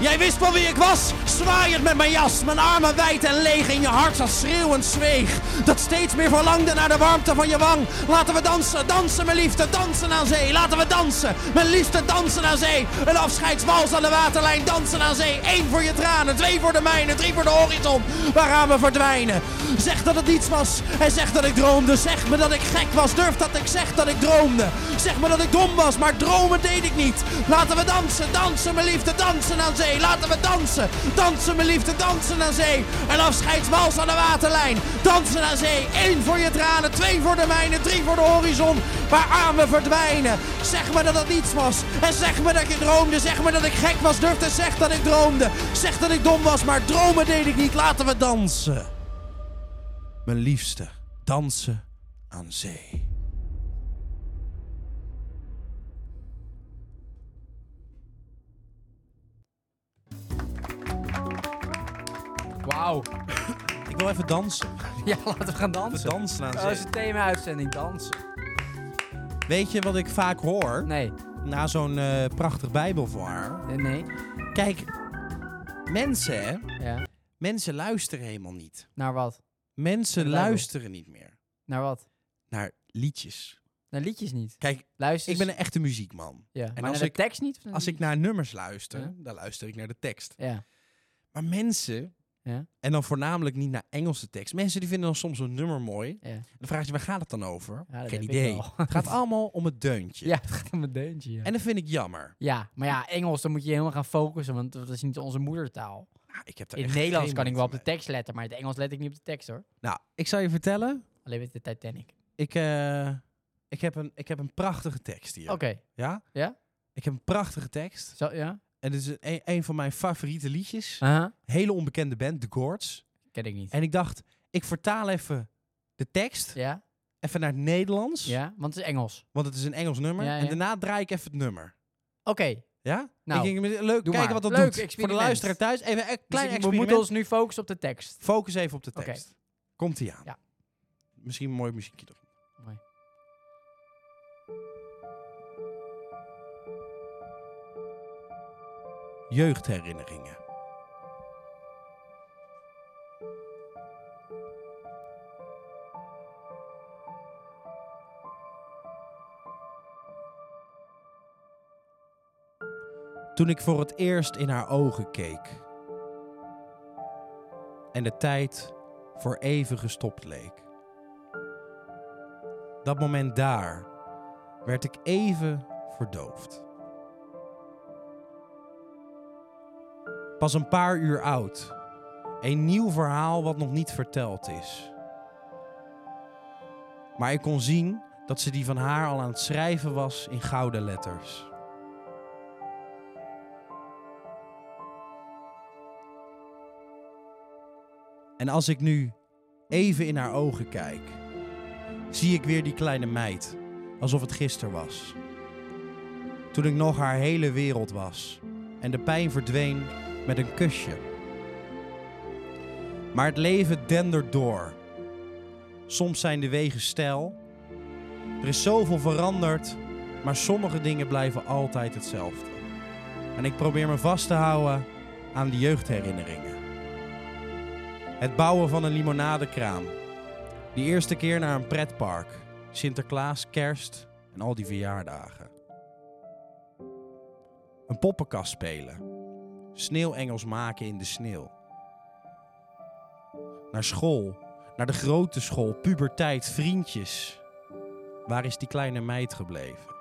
Speaker 1: Jij wist wel wie ik was, zwaaiend met mijn jas, mijn armen wijd en leeg en je hart zat schreeuwend zweeg. Dat steeds meer verlangde naar de warmte van je wang. Laten we dansen, dansen mijn liefde, dansen aan zee. Laten we dansen, mijn liefde, dansen aan zee. Een afscheidswals aan de waterlijn, dansen aan zee. Eén voor je tranen, twee voor de mijne, drie voor de horizon. Waaraan we verdwijnen. Zeg dat het niets was en zeg dat ik droomde. Zeg me dat ik gek was, durf dat ik zeg dat ik droomde. Zeg me dat ik dom was, maar dromen deed ik niet. Laten we dansen, dansen mijn liefde, dansen aan zee. Laten we dansen, dansen mijn liefde, dansen aan zee. Een afscheidswals aan de waterlijn, dansen aan zee. Eén voor je tranen, twee voor de mijne, drie voor de horizon. Waaraan we verdwijnen. Zeg me dat het niets was en zeg me dat ik droomde. Zeg me dat ik gek was, durf te zeg dat ik droomde. Zeg dat ik dom was, maar dromen deed ik niet. Laten we dansen. Mijn liefste, dansen aan zee.
Speaker 2: Wauw.
Speaker 1: Ik wil even dansen.
Speaker 2: Ja, laten we gaan dansen.
Speaker 1: Even dansen aan
Speaker 2: Dat
Speaker 1: zee.
Speaker 2: is een thema-uitzending, dansen.
Speaker 1: Weet je wat ik vaak hoor?
Speaker 2: Nee,
Speaker 1: Na zo'n eh, prachtig bijbelverhaal.
Speaker 2: nee, nee.
Speaker 1: Kijk, mensen, hè?
Speaker 2: Ja.
Speaker 1: Mensen luisteren helemaal niet.
Speaker 2: Naar wat?
Speaker 1: Mensen
Speaker 2: Bijbel.
Speaker 1: luisteren niet meer
Speaker 2: Naar wat?
Speaker 1: naar liedjes.
Speaker 2: Naar liedjes niet.
Speaker 1: Kijk,
Speaker 2: Luister.
Speaker 1: ik ben een echte muziekman.
Speaker 2: Ja.
Speaker 1: en
Speaker 2: maar
Speaker 1: als
Speaker 2: naar
Speaker 1: ik-
Speaker 2: de tekst niet? of naar de
Speaker 1: Als ik
Speaker 2: liedjes?
Speaker 1: naar nummers luister,
Speaker 2: Ja.
Speaker 1: dan luister ik naar de tekst.
Speaker 2: Ja.
Speaker 1: Maar mensen,
Speaker 2: Ja.
Speaker 1: en dan voornamelijk niet naar Engelse tekst. Mensen die vinden dan soms een nummer mooi.
Speaker 2: Ja.
Speaker 1: Dan vraag je, waar gaat het dan over?
Speaker 2: Ja, dat
Speaker 1: Geen
Speaker 2: heb ik
Speaker 1: idee.
Speaker 2: wel.
Speaker 1: Het gaat allemaal om het deuntje.
Speaker 2: Ja, het gaat om een deuntje. Ja.
Speaker 1: En dat vind ik jammer.
Speaker 2: ja, maar ja, Engels, dan moet je helemaal gaan focussen, want dat is niet onze moedertaal.
Speaker 1: Nou, ik heb daar
Speaker 2: In het
Speaker 1: echt
Speaker 2: Nederlands
Speaker 1: geen
Speaker 2: kan ik wel op
Speaker 1: moeite
Speaker 2: de tekst letten, maar in het Engels let ik niet op de tekst hoor.
Speaker 1: mee. Nou, ik zal je vertellen.
Speaker 2: Alleen met de Titanic.
Speaker 1: Ik, eh, ik, heb, een, ik heb een prachtige tekst hier.
Speaker 2: Oké,
Speaker 1: Ja?
Speaker 2: Ja?
Speaker 1: Ik heb een prachtige tekst.
Speaker 2: zo ja?
Speaker 1: En dit is een, een van mijn favoriete liedjes.
Speaker 2: Aha.
Speaker 1: Hele onbekende band, The Gourds.
Speaker 2: Ken ik niet.
Speaker 1: En ik dacht, ik vertaal even de tekst.
Speaker 2: Ja?
Speaker 1: Even naar het Nederlands.
Speaker 2: Ja, want het is Engels.
Speaker 1: Want het is een Engels nummer.
Speaker 2: Ja, ja.
Speaker 1: En daarna draai ik even het nummer.
Speaker 2: Oké,
Speaker 1: Ja?
Speaker 2: Nou,
Speaker 1: ik denk, leuk, kijken
Speaker 2: maar.
Speaker 1: wat dat
Speaker 2: Leuk
Speaker 1: doet. Voor de
Speaker 2: experiment.
Speaker 1: luisteraar thuis, even een klein
Speaker 2: dus ik- we
Speaker 1: experiment.
Speaker 2: moeten ons nu focussen op de tekst.
Speaker 1: Focus even op de
Speaker 2: Oké.
Speaker 1: tekst. Komt ie aan.
Speaker 2: Ja.
Speaker 1: Misschien een mooi muziekje erop.
Speaker 2: Mooi.
Speaker 1: Jeugdherinneringen. Toen ik voor het eerst in haar ogen keek en de tijd voor even gestopt leek. Dat moment daar werd ik even verdoofd. Pas een paar uur oud. Een nieuw verhaal wat nog niet verteld is. Maar ik kon zien dat ze die van haar al aan het schrijven was in gouden letters. En als ik nu even in haar ogen kijk, zie ik weer die kleine meid, alsof het gisteren was. Toen ik nog haar hele wereld was en de pijn verdween met een kusje. Maar het leven dendert door. Soms zijn de wegen steil. Er is zoveel veranderd, maar sommige dingen blijven altijd hetzelfde. En ik probeer me vast te houden aan de jeugdherinneringen. Het bouwen van een limonadekraam. Die eerste keer naar een pretpark. Sinterklaas, kerst en al die verjaardagen. Een poppenkast spelen. Sneeuwengels maken in de sneeuw. Naar school. Naar de grote school. Puberteit, vriendjes. Waar is die kleine meid gebleven?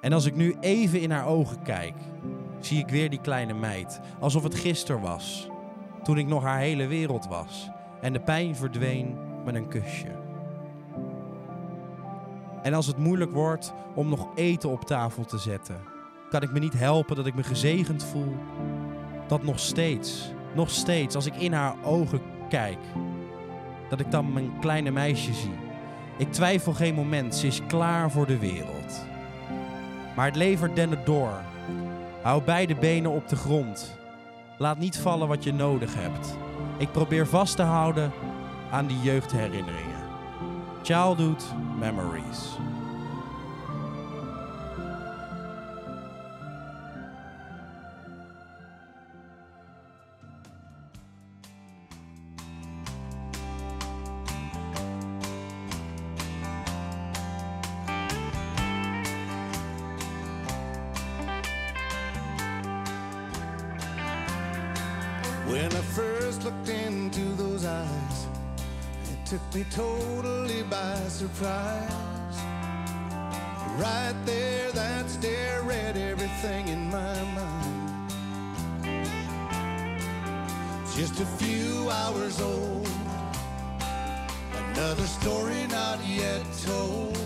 Speaker 1: En als ik nu even in haar ogen kijk, zie ik weer die kleine meid. Alsof het gisteren was toen ik nog haar hele wereld was en de pijn verdween met een kusje. En als het moeilijk wordt om nog eten op tafel te zetten, kan ik me niet helpen dat ik me gezegend voel. Dat nog steeds, nog steeds, als ik in haar ogen kijk, dat ik dan mijn kleine meisje zie. Ik twijfel geen moment, ze is klaar voor de wereld. Maar het levert dennen door. Hou beide benen op de grond. Laat niet vallen wat je nodig hebt. Ik probeer vast te houden aan die jeugdherinneringen. Childhood Memories.
Speaker 5: When I first looked into those eyes, it took me totally by surprise. Right there, that stare read everything in my mind. Just a few hours old, another story not yet told.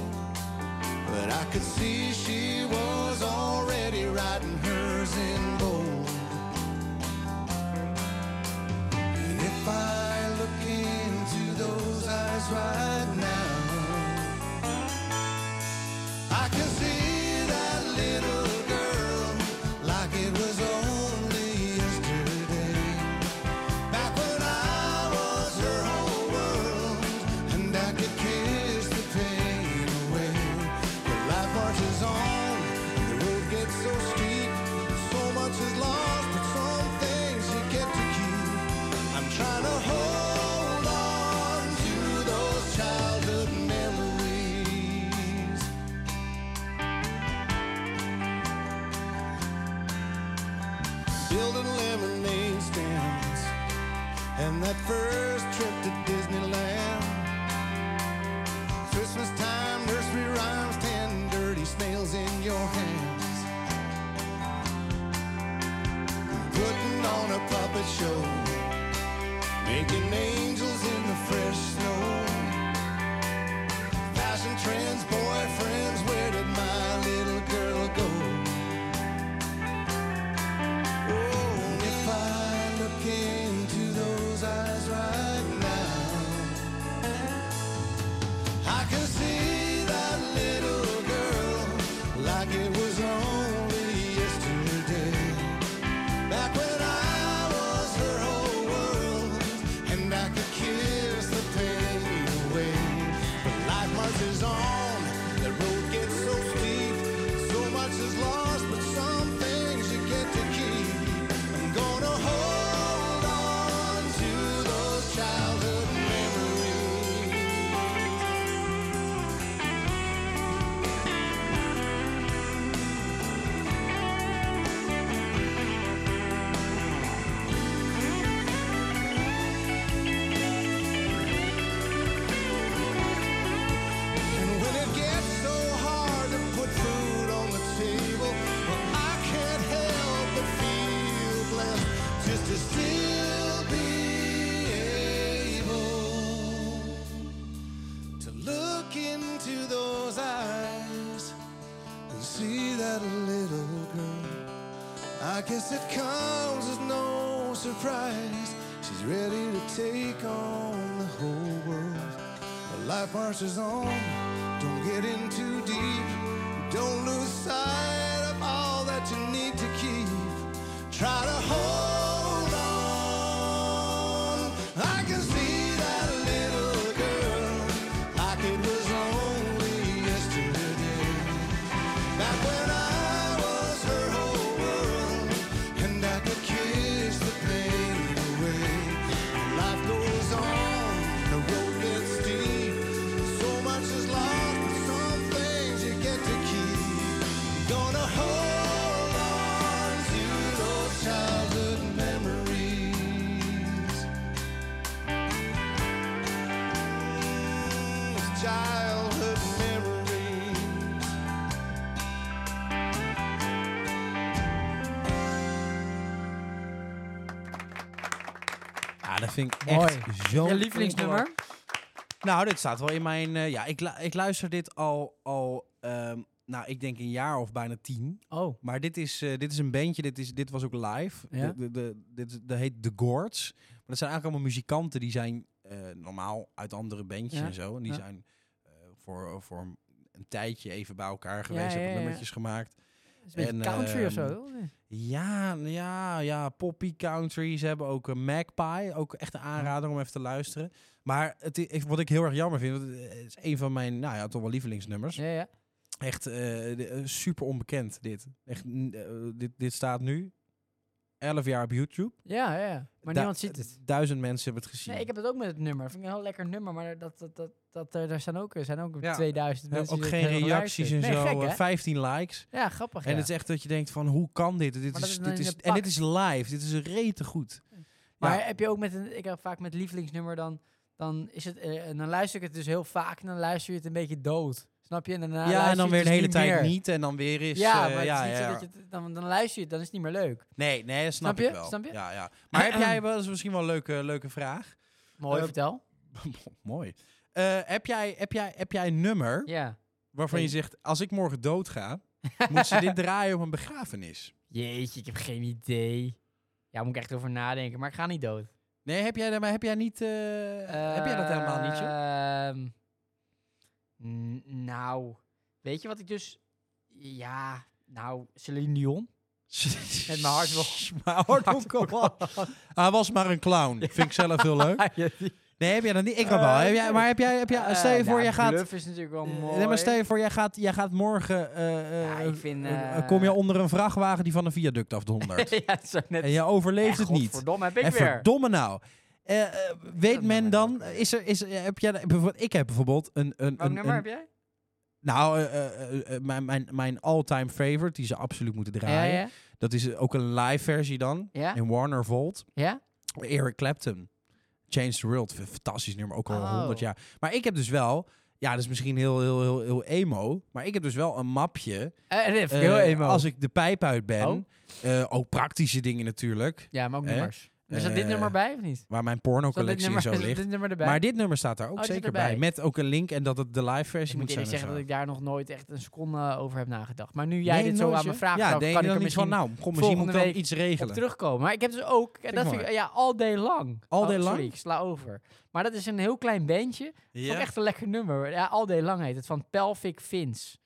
Speaker 5: But I could see she was already writing hers in bold. And if I look into those eyes right now, I can see that little girl like it was only yesterday. Back when I was her whole world, and I could kiss the pain away. But life marches on, and the road gets so steep. So much is lost, but some things you get to keep. I'm trying to hold on to those childhood memories. Building lemonade stands, and that first trip to Disneyland. Christmas time, nursery rhymes, ten dirty snails in your hands. Putting on a puppet show. Making angels in the fresh snow. Fashion trends, boyfriends, where did my little girl go? Oh, and if I look into those eyes right now, I can see that little girl like it was only yesterday. Back when I was her whole world, and I could kiss the pain away. But life marches on, the road gets so steep. So much is lost, but some things you get to keep. I'm gonna hold on to those childhood memories. And when it gets so hard to put food on the table, well, I can't help but feel blessed just to still be able to look into those eyes and see that little girl. I guess it comes as no surprise. She's ready to take on the whole world. But life marches on. Don't get in too deep. Don't lose sight of all that you need to keep. Try to hold on. I can see that little girl like it was only yesterday. Back when I was her whole world, and I could kiss the pain away. Life goes on, the road gets steep. So much is lost, but some things you get to keep. Gonna hold on to those childhood memories. Mm, those Childhood memories.
Speaker 1: Ja, dat vind ik
Speaker 2: Mooi.
Speaker 1: echt zo'n...
Speaker 2: Je lievelingsnummer?
Speaker 1: Nou, dit staat wel in mijn... eh, ja, ik, lu- ik luister dit al, al ehm, nou, ik denk een jaar of bijna tien.
Speaker 2: Oh.
Speaker 1: Maar dit is, eh, dit is een bandje, dit, is, dit was ook live.
Speaker 2: Ja.
Speaker 1: De, de, de, dit is- dat heet The Gourds. Maar dat zijn eigenlijk allemaal muzikanten die zijn eh, normaal uit andere bandjes
Speaker 2: Ja,
Speaker 1: en zo. En die
Speaker 2: ja.
Speaker 1: zijn eh, voor, voor een, een tijdje even bij elkaar
Speaker 2: ja,
Speaker 1: geweest, hebben
Speaker 2: ja, ja.
Speaker 1: nummertjes gemaakt.
Speaker 2: Is een beetje
Speaker 1: En,
Speaker 2: country of
Speaker 1: ehm,
Speaker 2: zo. hoor.
Speaker 1: Ja, ja, ja, poppy country. Ze hebben ook een Magpie, ook echt een aanrader om even te luisteren. Maar het, i- ik- wat ik heel erg jammer vind, want het is een van mijn, nou ja, toch wel lievelingsnummers.
Speaker 2: Ja, ja.
Speaker 1: Echt eh, de- eh, super onbekend dit. Echt, n- eh, dit. Dit staat nu 11 jaar op YouTube.
Speaker 2: Ja, ja, ja. Maar
Speaker 1: Du-
Speaker 2: niemand ziet het.
Speaker 1: Duizend mensen hebben het gezien.
Speaker 2: Nee, ik heb het ook met het nummer. Vind ik een heel lekker nummer, maar dat, dat, dat, dat, eh, daar zijn ook, er zijn ook
Speaker 1: Ja.
Speaker 2: 2000
Speaker 1: Eh,
Speaker 2: mensen.
Speaker 1: ook
Speaker 2: die
Speaker 1: geen
Speaker 2: dat hebben
Speaker 1: reacties en
Speaker 2: geluisterd.
Speaker 1: zo.
Speaker 2: Nee, gek,
Speaker 1: eh,
Speaker 2: hè?
Speaker 1: 15 likes.
Speaker 2: Ja, grappig.
Speaker 1: En
Speaker 2: ja.
Speaker 1: het is echt dat je denkt van hoe kan dit? dit
Speaker 2: dat
Speaker 1: is,
Speaker 2: is dan
Speaker 1: dit
Speaker 2: in
Speaker 1: is,
Speaker 2: een
Speaker 1: en dit
Speaker 2: pak.
Speaker 1: is live. Dit is rete goed.
Speaker 2: Maar
Speaker 1: Ja.
Speaker 2: heb je ook met een, ik heb vaak met lievelingsnummer dan, dan is het, eh, en dan luister ik het dus heel vaak en dan luister je het een beetje dood. Snap je? En daarna luister
Speaker 1: ja,
Speaker 2: je
Speaker 1: en dan
Speaker 2: het
Speaker 1: weer een
Speaker 2: dus
Speaker 1: hele
Speaker 2: niet
Speaker 1: tijd
Speaker 2: meer.
Speaker 1: niet en dan weer is...
Speaker 2: Ja,
Speaker 1: eh,
Speaker 2: maar
Speaker 1: ja,
Speaker 2: het is niet
Speaker 1: ja,
Speaker 2: zo
Speaker 1: ja.
Speaker 2: dat je het, dan, dan luister je het, dan is het niet meer leuk.
Speaker 1: Nee, nee, dat snap,
Speaker 2: Snap
Speaker 1: ik
Speaker 2: je?
Speaker 1: wel.
Speaker 2: Snap je?
Speaker 1: Ja, ja. Maar heb jij wel eens misschien wel een leuke, leuke vraag?
Speaker 2: Mooi,
Speaker 1: Eh,
Speaker 2: vertel.
Speaker 1: Mooi. Eh, heb, jij, heb, jij, heb jij een nummer
Speaker 2: Ja.
Speaker 1: waarvan je zegt... als ik morgen doodga, moet ze dit draaien op een begrafenis?
Speaker 2: Jeetje, ik heb geen idee. Ja, moet ik echt over nadenken, maar ik ga niet dood.
Speaker 1: Nee, heb jij, daar- maar heb jij, niet, eh, heb jij dat helemaal niet, joh?
Speaker 2: Ehm, n- nou, weet je wat ik dus... Ja, nou, Celine Dion. Met mijn hart wil-
Speaker 1: Mijn hart wil komen. Hij was maar een clown. Vind ik zelf heel leuk. Nee, heb jij dat niet? Ik had wel. Heb jij, maar heb jij, heb jij, stel je
Speaker 2: Eh,
Speaker 1: voor,
Speaker 2: nou,
Speaker 1: jij gaat... Eh,
Speaker 2: Bluff is natuurlijk wel mooi.
Speaker 1: Nee, maar stel je voor, jij gaat, jij gaat morgen... eh,
Speaker 2: Ja,
Speaker 1: eh,
Speaker 2: ik vind,
Speaker 1: eh,
Speaker 2: eh,
Speaker 1: kom je onder een vrachtwagen die van een viaduct afdondert.
Speaker 2: ja, het is ook net...
Speaker 1: en je overleeft
Speaker 2: Eh,
Speaker 1: het niet.
Speaker 2: Godverdomme, heb ik
Speaker 1: en
Speaker 2: weer.
Speaker 1: verdomme nou. Eh, eh, weet
Speaker 2: Dat
Speaker 1: men
Speaker 2: nummer
Speaker 1: dan,
Speaker 2: ook, eh.
Speaker 1: is er, is, er- heb jij, bijvoorbeeld- ik heb bijvoorbeeld een... een,
Speaker 2: Welk
Speaker 1: een,
Speaker 2: nummer
Speaker 1: een-
Speaker 2: heb jij?
Speaker 1: nou, eh, eh, eh, eh, mijn, mijn, mijn all-time favorite, die ze absoluut moeten
Speaker 2: ja,
Speaker 1: draaien.
Speaker 2: ja.
Speaker 1: Dat is ook een live versie dan,
Speaker 2: Ja?
Speaker 1: in Warner Volt.
Speaker 2: Ja?
Speaker 1: Eric Clapton. Change the World. Vind ik een Fantastisch nummer. Ook al
Speaker 2: Oh.
Speaker 1: 100 jaar. Maar ik heb dus wel. Ja, dat is misschien heel, heel, heel, heel emo. Maar ik heb dus wel een mapje.
Speaker 2: Eh, nee, vind ik
Speaker 1: eh,
Speaker 2: heel emo.
Speaker 1: Als ik de pijp uit ben.
Speaker 2: Oh.
Speaker 1: eh, ook praktische dingen natuurlijk.
Speaker 2: Ja, maar ook
Speaker 1: Eh,
Speaker 2: nummers. Er zat dit
Speaker 1: eh,
Speaker 2: nummer bij of niet?
Speaker 1: Waar mijn
Speaker 2: Zat dit
Speaker 1: pornocollectie en
Speaker 2: nummer,
Speaker 1: zo
Speaker 2: zat
Speaker 1: ligt.
Speaker 2: dit nummer erbij?
Speaker 1: Maar dit nummer staat daar ook
Speaker 2: Oh, die zit
Speaker 1: zeker bij.
Speaker 2: erbij.
Speaker 1: Met ook een link. En dat het de live versie
Speaker 2: ik moet
Speaker 1: moet zijn.
Speaker 2: eerlijk zeggen
Speaker 1: en
Speaker 2: dat
Speaker 1: zo.
Speaker 2: ik daar nog nooit echt een seconde over heb nagedacht. Maar nu jij
Speaker 1: Nee,
Speaker 2: dit zo
Speaker 1: nooit,
Speaker 2: aan me
Speaker 1: joh.
Speaker 2: vraagt,
Speaker 1: Ja,
Speaker 2: dan
Speaker 1: denk
Speaker 2: kan
Speaker 1: je
Speaker 2: ik er
Speaker 1: dan niet van,
Speaker 2: misschien
Speaker 1: nou, kom, misschien moet ik
Speaker 2: volgende
Speaker 1: dan
Speaker 2: week
Speaker 1: iets
Speaker 2: op
Speaker 1: regelen.
Speaker 2: terugkomen. Maar ik heb dus ook, en
Speaker 1: ik
Speaker 2: dat vind ik,
Speaker 1: mooi.
Speaker 2: ja, All Day Long.
Speaker 1: All
Speaker 2: Oh,
Speaker 1: Day
Speaker 2: Sorry,
Speaker 1: Lang?
Speaker 2: ik sla over. Maar dat is een heel klein bandje. Vond ik
Speaker 1: Ja.
Speaker 2: echt een lekker nummer. Ja, All Day Lang heet het, van Pelvic Fins.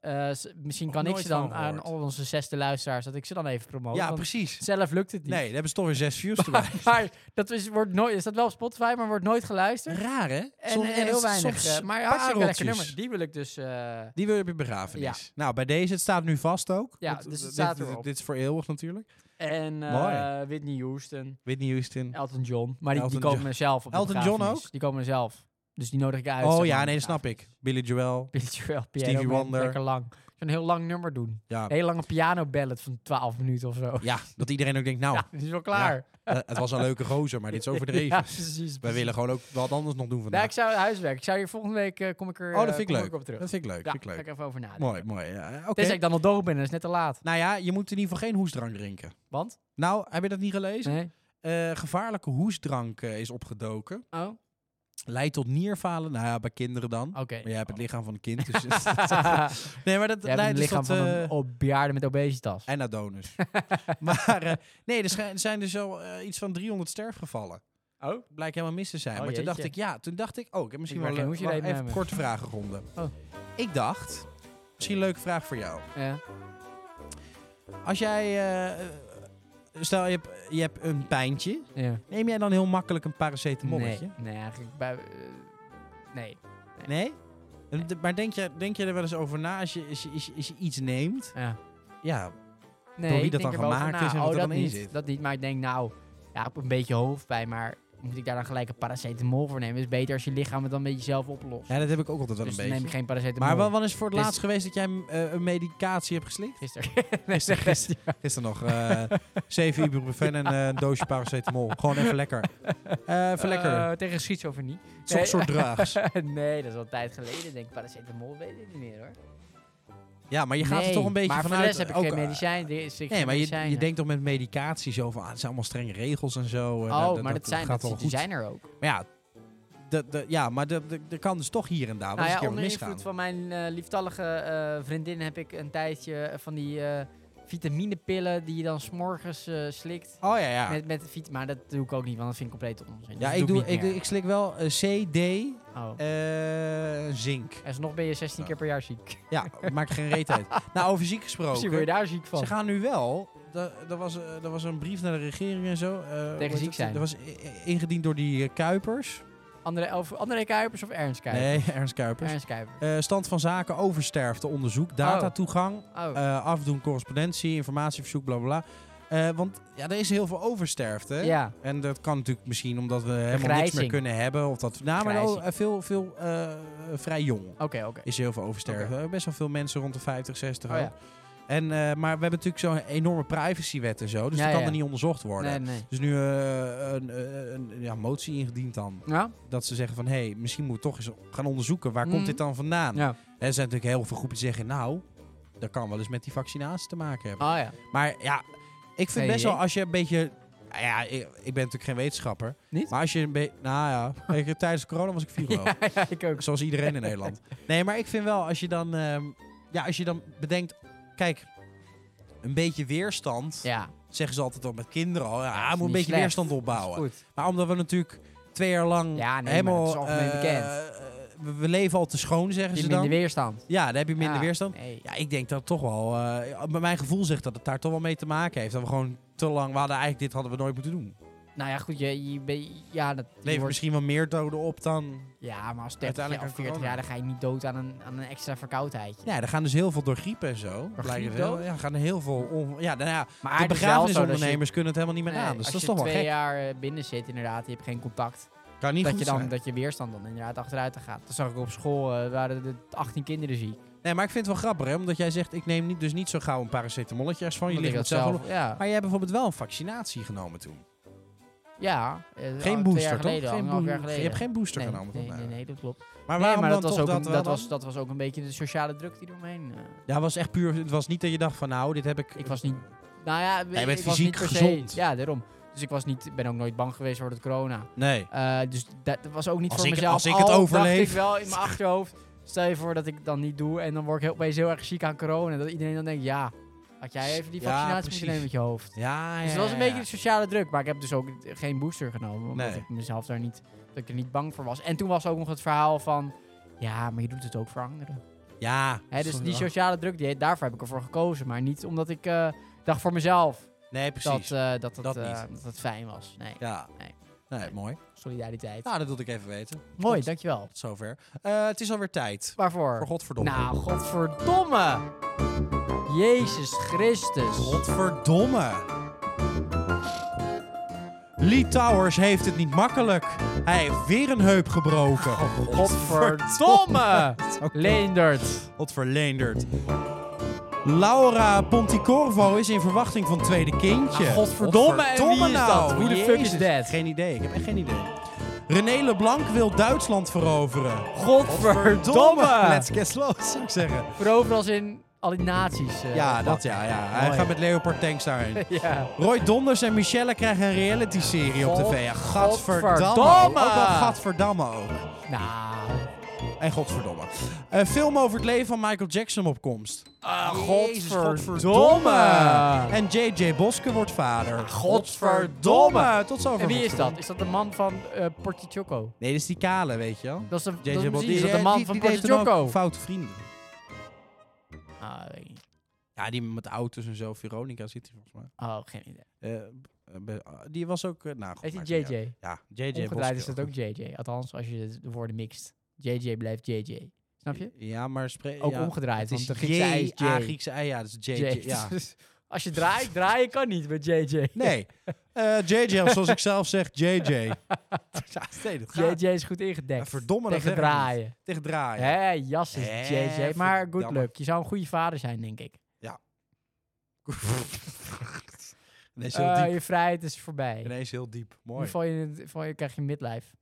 Speaker 2: Eh, s- misschien
Speaker 1: Nog
Speaker 2: kan ik
Speaker 1: nooit
Speaker 2: ze
Speaker 1: van
Speaker 2: dan aan
Speaker 1: gehoord.
Speaker 2: al onze zesde luisteraars, dat ik ze dan even promote.
Speaker 1: Ja,
Speaker 2: want
Speaker 1: precies.
Speaker 2: zelf lukt het niet.
Speaker 1: Nee, daar hebben ze toch weer zes views erbij.
Speaker 2: Maar dat is, wordt nooit, is dat wel op Spotify, maar wordt nooit geluisterd.
Speaker 1: Raar, hè?
Speaker 2: En,
Speaker 1: Soms-
Speaker 2: eh,
Speaker 1: het
Speaker 2: heel
Speaker 1: is
Speaker 2: weinig.
Speaker 1: soms
Speaker 2: eh, maar hartstikke lekker
Speaker 1: pareltjes.
Speaker 2: nummer. Die wil ik dus... eh,
Speaker 1: Die wil je op je begrafenis. Nou, bij deze, het staat nu vast ook.
Speaker 2: Ja,
Speaker 1: Want
Speaker 2: dus het
Speaker 1: dit-
Speaker 2: staat
Speaker 1: dit,
Speaker 2: erop.
Speaker 1: dit is voor eeuwig natuurlijk.
Speaker 2: En eh,
Speaker 1: Mooi.
Speaker 2: Whitney Houston,
Speaker 1: Whitney Houston.
Speaker 2: Elton John. Maar die, die
Speaker 1: Elton
Speaker 2: komen
Speaker 1: John.
Speaker 2: er zelf op de
Speaker 1: Elton John
Speaker 2: begrafenis.
Speaker 1: ook?
Speaker 2: Die komen er zelf. Dus die nodig ik uit.
Speaker 1: oh
Speaker 2: zeg
Speaker 1: ja,
Speaker 2: maar,
Speaker 1: nee, dat snap
Speaker 2: begrafenis.
Speaker 1: ik. Billy Joel.
Speaker 2: Billy Joel, piano
Speaker 1: Stevie
Speaker 2: band,
Speaker 1: Wonder.
Speaker 2: Lekker lang. Zo'n heel lang nummer doen.
Speaker 1: Ja.
Speaker 2: Een hele lange piano ballad van 12 minuten of zo.
Speaker 1: Ah. ja, dat iedereen ook denkt, nou,
Speaker 2: Ja, die is wel klaar.
Speaker 1: eh, het was een leuke gozer, maar dit is overdreven.
Speaker 2: Ja, precies.
Speaker 1: Wij
Speaker 2: precies.
Speaker 1: willen gewoon ook wat anders nog doen
Speaker 2: Ja,
Speaker 1: vandaag.
Speaker 2: ik zou huiswerk. Ik zou hier volgende week eh, kom ik er.
Speaker 1: Oh, dat
Speaker 2: eh,
Speaker 1: vind ik
Speaker 2: kom
Speaker 1: leuk.
Speaker 2: op terug.
Speaker 1: dat vind ik leuk.
Speaker 2: ja,
Speaker 1: vind ik
Speaker 2: ga ik
Speaker 1: leuk.
Speaker 2: even over nadenken.
Speaker 1: Mooi, mooi. ja, Oké.
Speaker 2: Tenzij ik dan al dood ben, dat is net te laat.
Speaker 1: Nou ja, je moet in ieder geval geen hoesdrank drinken.
Speaker 2: Want?
Speaker 1: Nou, heb je dat niet gelezen?
Speaker 2: Nee.
Speaker 1: Eh, gevaarlijke hoesdrank eh, is opgedoken.
Speaker 2: Oh, oké.
Speaker 1: Leidt tot nierfalen. Nou ja, bij kinderen dan.
Speaker 2: Oh,
Speaker 1: Maar jij hebt het lichaam van een kind. Dus nee, maar dat
Speaker 2: Jij
Speaker 1: leidt
Speaker 2: hebt het
Speaker 1: dus
Speaker 2: lichaam
Speaker 1: tot...
Speaker 2: van
Speaker 1: eh,
Speaker 2: een op- bejaarde met obesitas.
Speaker 1: En naar donus. maar eh, nee, er schijn- er zijn dus al eh, iets van 300 sterfgevallen.
Speaker 2: Oh?
Speaker 1: Blijkt helemaal mis te zijn.
Speaker 2: Oh,
Speaker 1: maar toen dacht
Speaker 2: jeetje.
Speaker 1: ik, ja, toen dacht ik, oh, ik heb misschien
Speaker 2: Ik
Speaker 1: wel
Speaker 2: wou
Speaker 1: een
Speaker 2: geen
Speaker 1: wacht,
Speaker 2: hoesje
Speaker 1: even
Speaker 2: reep nemen.
Speaker 1: korte vragenronde.
Speaker 2: Oh.
Speaker 1: Ik dacht, misschien een leuke vraag voor jou.
Speaker 2: Ja.
Speaker 1: Als jij, eh, eh, stel je hebt, je hebt een pijntje,
Speaker 2: ja.
Speaker 1: neem jij dan heel makkelijk een paracetamolletje?
Speaker 2: Nee, nee eigenlijk bij... eh, nee.
Speaker 1: Nee? En de- Maar denk je, denk je er wel eens over na als je, als je, als je, als je iets neemt?
Speaker 2: Ja.
Speaker 1: Ja,
Speaker 2: nee
Speaker 1: Door wie
Speaker 2: ik
Speaker 1: dat dan
Speaker 2: denk er wel over
Speaker 1: gemaakt
Speaker 2: na.
Speaker 1: is en
Speaker 2: oh,
Speaker 1: wat er
Speaker 2: dat
Speaker 1: dan in
Speaker 2: niet,
Speaker 1: zit.
Speaker 2: Dat niet, maar ik denk nou... Ja, ik heb een beetje hoofdpijn, maar moet ik daar dan gelijk een paracetamol voor nemen? Het is beter als je lichaam het dan met jezelf oplost.
Speaker 1: ja, dat heb ik ook altijd wel
Speaker 2: dus
Speaker 1: een
Speaker 2: dan neem
Speaker 1: beetje.
Speaker 2: ik geen paracetamol.
Speaker 1: Maar wa- wanneer is het voor het
Speaker 2: Is-
Speaker 1: laatst geweest dat jij eh, een medicatie hebt geslikt?
Speaker 2: Gisteren.
Speaker 1: Gisteren, gisteren. gisteren nog eh, zeven ibuprofen en eh, een doosje paracetamol. Gewoon even lekker. Eh even lekker.
Speaker 2: Eh, tegen schizofrenie.
Speaker 1: Zo'n soort draags.
Speaker 2: nee, dat is al een tijd geleden, denk ik. Paracetamol weet ik niet meer, hoor.
Speaker 1: Ja, maar je gaat er
Speaker 2: Nee,
Speaker 1: toch een beetje
Speaker 2: maar
Speaker 1: vanuit.
Speaker 2: voor de rest heb ik
Speaker 1: ook,
Speaker 2: geen
Speaker 1: eh,
Speaker 2: medicijn. er is- ik
Speaker 1: Nee,
Speaker 2: geen
Speaker 1: maar je, je
Speaker 2: medicijnen.
Speaker 1: denkt toch met medicatie zo van, ah, het zijn allemaal strenge regels en zo. eh,
Speaker 2: Oh, maar dat, zijn,
Speaker 1: gaat
Speaker 2: dat,
Speaker 1: wel
Speaker 2: die
Speaker 1: goed.
Speaker 2: zijn er ook.
Speaker 1: Maar ja, de, de, ja maar de- de- er kan dus toch hier en daar wel
Speaker 2: Nou
Speaker 1: eens
Speaker 2: ja,
Speaker 1: een keer wat
Speaker 2: onder
Speaker 1: misgaan.
Speaker 2: invloed van mijn eh, lieftallige eh, vriendin heb ik een tijdje eh, van die eh, vitaminepillen die je dan s'morgens eh, slikt.
Speaker 1: Oh ja, ja.
Speaker 2: Met, met de vit- maar dat doe ik ook niet, want dat vind ik compleet onzin.
Speaker 1: Ja,
Speaker 2: Dus
Speaker 1: ik,
Speaker 2: dat
Speaker 1: doe,
Speaker 2: ik, niet
Speaker 1: ik,
Speaker 2: meer.
Speaker 1: ik slik wel eh, CD,
Speaker 2: Oh.
Speaker 1: eh, zink.
Speaker 2: En nog ben je 16 keer per jaar
Speaker 1: Oh,
Speaker 2: ziek.
Speaker 1: Ja, maakt geen reet uit. Nou, over ziek gesproken.
Speaker 2: Misschien word je daar ziek van.
Speaker 1: Ze gaan nu wel. da- Er was, eh, er was een brief naar de regering en zo. eh, hoe heet
Speaker 2: ziek
Speaker 1: het?
Speaker 2: zijn.
Speaker 1: Er was i- i- ingediend door die eh, Kuipers.
Speaker 2: André, of, André Kuipers of Ernst Kuipers?
Speaker 1: Nee, Ernst Kuipers.
Speaker 2: Ernst Kuipers.
Speaker 1: Eh, stand van zaken over sterfteonderzoek, datatoegang,
Speaker 2: Oh,
Speaker 1: eh, afdoen correspondentie, informatieverzoek, bla bla bla. Eh, want ja, er is heel veel oversterfte.
Speaker 2: ja.
Speaker 1: En dat kan natuurlijk misschien omdat we helemaal niks meer
Speaker 2: Vergrijzing. kunnen
Speaker 1: kunnen hebben. Of dat, nou, maar
Speaker 2: Vergrijzing.
Speaker 1: wel, eh, veel, veel eh, vrij jong
Speaker 2: Oké, oké.
Speaker 1: is heel veel oversterven. Best wel veel mensen rond de 50, 60.
Speaker 2: Oh
Speaker 1: ook.
Speaker 2: ja.
Speaker 1: Eh, En, eh, maar we hebben natuurlijk zo'n enorme privacywet en zo. Dus
Speaker 2: Ja,
Speaker 1: dat kan
Speaker 2: ja.
Speaker 1: er niet onderzocht worden.
Speaker 2: Nee, nee.
Speaker 1: Dus nu eh, een, eh, een ja, motie ingediend dan.
Speaker 2: Ja?
Speaker 1: Dat ze zeggen van, hé, hey, misschien moeten we toch eens gaan onderzoeken. Waar komt
Speaker 2: Mm.
Speaker 1: dit dan vandaan?
Speaker 2: Ja.
Speaker 1: Hè, Er zijn natuurlijk heel veel groepen die zeggen, nou, dat kan wel eens met die vaccinatie te maken hebben.
Speaker 2: Oh ja.
Speaker 1: Maar ja, ik vind
Speaker 2: Nee,
Speaker 1: best
Speaker 2: nee.
Speaker 1: wel als je een beetje... nou Ja, ik, ik ben natuurlijk geen wetenschapper.
Speaker 2: Niet?
Speaker 1: Maar als je een beetje... Nou ja, ik- tijdens corona was ik viroloog.
Speaker 2: ja, ik ook.
Speaker 1: Zoals iedereen in Nederland. Nee, maar ik vind wel, als je dan, ehm, ja, als je dan bedenkt... Kijk, een beetje weerstand,
Speaker 2: Ja,
Speaker 1: zeggen ze altijd al met kinderen al. Ja,
Speaker 2: is
Speaker 1: moet een
Speaker 2: niet
Speaker 1: beetje
Speaker 2: slecht.
Speaker 1: weerstand
Speaker 2: is
Speaker 1: opbouwen.
Speaker 2: goed.
Speaker 1: Maar omdat we natuurlijk twee jaar lang
Speaker 2: Ja, nee, maar
Speaker 1: helemaal...
Speaker 2: dat is algemeen
Speaker 1: eh,
Speaker 2: bekend.
Speaker 1: eh, we, we leven al te schoon, zeggen
Speaker 2: Heb
Speaker 1: ze
Speaker 2: je
Speaker 1: dan.
Speaker 2: minder weerstand?
Speaker 1: Ja, dan heb je minder
Speaker 2: Ja,
Speaker 1: weerstand.
Speaker 2: Nee.
Speaker 1: Ja, ik denk dat toch wel. eh, bij mijn gevoel zegt dat het daar toch wel mee te maken heeft. Dat we gewoon te lang. We hadden eigenlijk dit hadden we nooit moeten doen.
Speaker 2: Nou ja, goed, je, je, ben- ja, dat, je
Speaker 1: Leven
Speaker 2: wordt-
Speaker 1: misschien wel meer doden op dan.
Speaker 2: ja, maar als 30
Speaker 1: Uiteindelijk
Speaker 2: jaar of
Speaker 1: aan corona.
Speaker 2: 40 jaar, dan ga je niet dood aan een, aan een extra verkoudheidje.
Speaker 1: Ja, er gaan dus heel veel door griep en zo. Blijken
Speaker 2: griep
Speaker 1: wel.
Speaker 2: dood?
Speaker 1: Ja, er gaan heel veel. on- ja, nou ja,
Speaker 2: Maar
Speaker 1: de
Speaker 2: het is wel zo dat je-
Speaker 1: begrafenisondernemers kunnen het helemaal niet meer
Speaker 2: Nee,
Speaker 1: aan. Dus
Speaker 2: als
Speaker 1: dat is
Speaker 2: je
Speaker 1: toch wel
Speaker 2: twee
Speaker 1: gek.
Speaker 2: jaar eh, binnen zit, inderdaad, je hebt geen contact.
Speaker 1: Kan niet
Speaker 2: dat,
Speaker 1: goed
Speaker 2: je dan,
Speaker 1: zijn.
Speaker 2: dat je weerstand dan inderdaad achteruit Oh, gaat. Dat zag ik op school, eh, waren er 18 kinderen ziek.
Speaker 1: Nee, maar ik vind het wel grappig, hè? Omdat jij zegt, ik neem niet, dus niet zo gauw een paracetamolletje als van je
Speaker 2: Omdat ik
Speaker 1: lichaam
Speaker 2: dat
Speaker 1: het zelf.
Speaker 2: zelf,
Speaker 1: wel-
Speaker 2: ja.
Speaker 1: Maar jij hebt bijvoorbeeld wel een vaccinatie genomen toen.
Speaker 2: ja eh, al
Speaker 1: Geen
Speaker 2: Twee
Speaker 1: booster,
Speaker 2: jaar
Speaker 1: toch?
Speaker 2: geleden,
Speaker 1: Geen
Speaker 2: anderhalf
Speaker 1: boe-
Speaker 2: jaar geleden.
Speaker 1: Je hebt geen booster
Speaker 2: nee,
Speaker 1: genomen.
Speaker 2: Nee,
Speaker 1: toch? Nou,
Speaker 2: nee, nee, dat klopt.
Speaker 1: Maar
Speaker 2: nee,
Speaker 1: waarom
Speaker 2: maar
Speaker 1: dan
Speaker 2: dat was,
Speaker 1: toch
Speaker 2: ook,
Speaker 1: dat eh,
Speaker 2: dat,
Speaker 1: wel dan?
Speaker 2: was, dat was ook een beetje de sociale druk die eromheen... eh,
Speaker 1: Ja, het was echt puur. Het was niet dat je dacht van nou, dit heb ik.
Speaker 2: Ik was niet- Nou ja,
Speaker 1: Jij
Speaker 2: ik
Speaker 1: bent
Speaker 2: was
Speaker 1: fysiek
Speaker 2: niet per
Speaker 1: gezond.
Speaker 2: Se, ja, daarom. Dus ik was niet, ben ook nooit bang geweest voor het corona.
Speaker 1: Nee.
Speaker 2: Eh, dus dat was ook niet
Speaker 1: Als
Speaker 2: voor
Speaker 1: ik-
Speaker 2: mezelf.
Speaker 1: als ik het
Speaker 2: Al
Speaker 1: overleef.
Speaker 2: dacht ik wel in mijn achterhoofd. Stel je voor dat ik het dan niet doe en dan word ik heel, opeens heel erg ziek aan corona. Dat iedereen dan denkt, ja, had jij even die
Speaker 1: Ja,
Speaker 2: vaccinatie
Speaker 1: precies.
Speaker 2: moeten nemen met je hoofd.
Speaker 1: Ja, ja.
Speaker 2: Dus dat was een
Speaker 1: ja,
Speaker 2: beetje
Speaker 1: ja.
Speaker 2: de sociale druk. Maar ik heb dus ook geen booster genomen. Omdat
Speaker 1: Nee.
Speaker 2: ik mezelf daar niet, dat ik er niet bang voor was. En toen was ook nog het verhaal van, ja, maar je doet het ook voor anderen.
Speaker 1: Ja.
Speaker 2: Hè, dus
Speaker 1: sorry,
Speaker 2: die
Speaker 1: hoor.
Speaker 2: sociale druk, die, daarvoor heb ik ervoor gekozen. Maar niet omdat ik eh, dacht voor mezelf
Speaker 1: Nee,
Speaker 2: dat,
Speaker 1: precies.
Speaker 2: eh, dat, dat,
Speaker 1: Dat
Speaker 2: eh,
Speaker 1: niet.
Speaker 2: dat het fijn was. Nee,
Speaker 1: ja. Nee.
Speaker 2: Nee.
Speaker 1: mooi.
Speaker 2: solidariteit.
Speaker 1: Nou, dat wilde ik even weten.
Speaker 2: Mooi,
Speaker 1: Tot
Speaker 2: dankjewel.
Speaker 1: zover. Eh, het is alweer tijd.
Speaker 2: Waarvoor?
Speaker 1: Voor godverdomme.
Speaker 2: Nou, godverdomme! Jezus Christus.
Speaker 1: Godverdomme. Lee Towers heeft het niet makkelijk. Hij heeft weer een heup gebroken.
Speaker 2: Oh, Godverdomme! Leendert.
Speaker 1: Wat verleenderd. Laura Ponticorvo is in verwachting van het tweede kindje.
Speaker 2: Ah, godverdomme, en wie
Speaker 1: Godverdomme
Speaker 2: is
Speaker 1: nou.
Speaker 2: dat? Who the fuck is
Speaker 1: Jezus.
Speaker 2: that?
Speaker 1: Geen idee, ik heb echt geen idee. René Leblanc wil Duitsland veroveren.
Speaker 2: Godverdomme!
Speaker 1: Let's get slow, zou ik zeggen.
Speaker 2: Veroveren als in al die nazi's. eh,
Speaker 1: Ja,
Speaker 2: fuck.
Speaker 1: dat ja, ja. Hij
Speaker 2: Mooi.
Speaker 1: gaat met Leopard Tanks daarheen.
Speaker 2: ja.
Speaker 1: Roy Donders en Michelle krijgen een reality-serie op tv. Ja, Gadverdamme.
Speaker 2: Godverdamme.
Speaker 1: Ook wel gadverdamme ook.
Speaker 2: Nou.
Speaker 1: En godverdomme. Een film over het leven van Michael Jackson op komst.
Speaker 2: Ah,
Speaker 1: Jezus, godverdomme. En J.J. Boske wordt vader.
Speaker 2: Ah, Godverdomme.
Speaker 1: Tot zover.
Speaker 2: En wie is
Speaker 1: godverdomme.
Speaker 2: dat? Is dat de man van eh Porti Choco?
Speaker 1: Nee, dat is die kale, weet je wel.
Speaker 2: Dat is de,
Speaker 1: J.J.
Speaker 2: dan
Speaker 1: Boske.
Speaker 2: zie je, is dat de
Speaker 1: eh,
Speaker 2: man
Speaker 1: die-
Speaker 2: van
Speaker 1: die deed
Speaker 2: Porti
Speaker 1: toen ook
Speaker 2: Choco?
Speaker 1: Foute vrienden.
Speaker 2: Ah, weet ik niet.
Speaker 1: Ja, die met auto's en zo. Veronica zit hij volgens mij.
Speaker 2: Oh, geen idee.
Speaker 1: Eh, be- eh, die was ook... eh, nou, goed,
Speaker 2: Heet
Speaker 1: maakt
Speaker 2: hij
Speaker 1: niet uit.
Speaker 2: JJ?
Speaker 1: Ja, J.J. Boske.
Speaker 2: Omgedraaid is dat ook JJ. Althans, als je de woorden mixt. JJ blijft JJ. Snap je?
Speaker 1: Ja, maar spreek...
Speaker 2: Ook
Speaker 1: ja,
Speaker 2: omgedraaid.
Speaker 1: want
Speaker 2: is de Griekse ei is
Speaker 1: J, A,
Speaker 2: J.
Speaker 1: Griekse ei, ja, dat is
Speaker 2: J.
Speaker 1: J.J. Ja.
Speaker 2: Dus als je draait, draaien kan niet met JJ.
Speaker 1: Nee. Eh, JJ, of zoals ik zelf zeg, JJ. Ja, nee, dat gaat.
Speaker 2: JJ is goed ingedekt.
Speaker 1: Ja, verdomme, dat
Speaker 2: Tegen
Speaker 1: zeg ik niet.
Speaker 2: draaien.
Speaker 1: Tegen draaien.
Speaker 2: Hé, jas is
Speaker 1: Hè,
Speaker 2: JJ. Maar good
Speaker 1: verdamme.
Speaker 2: luck. Je zou een goede vader zijn, denk ik.
Speaker 1: Ineens heel
Speaker 2: Eh
Speaker 1: diep.
Speaker 2: je vrijheid is voorbij.
Speaker 1: Ineens heel diep.
Speaker 2: Nu
Speaker 1: Mooi.
Speaker 2: val je, in het- val je, krijg je midlife.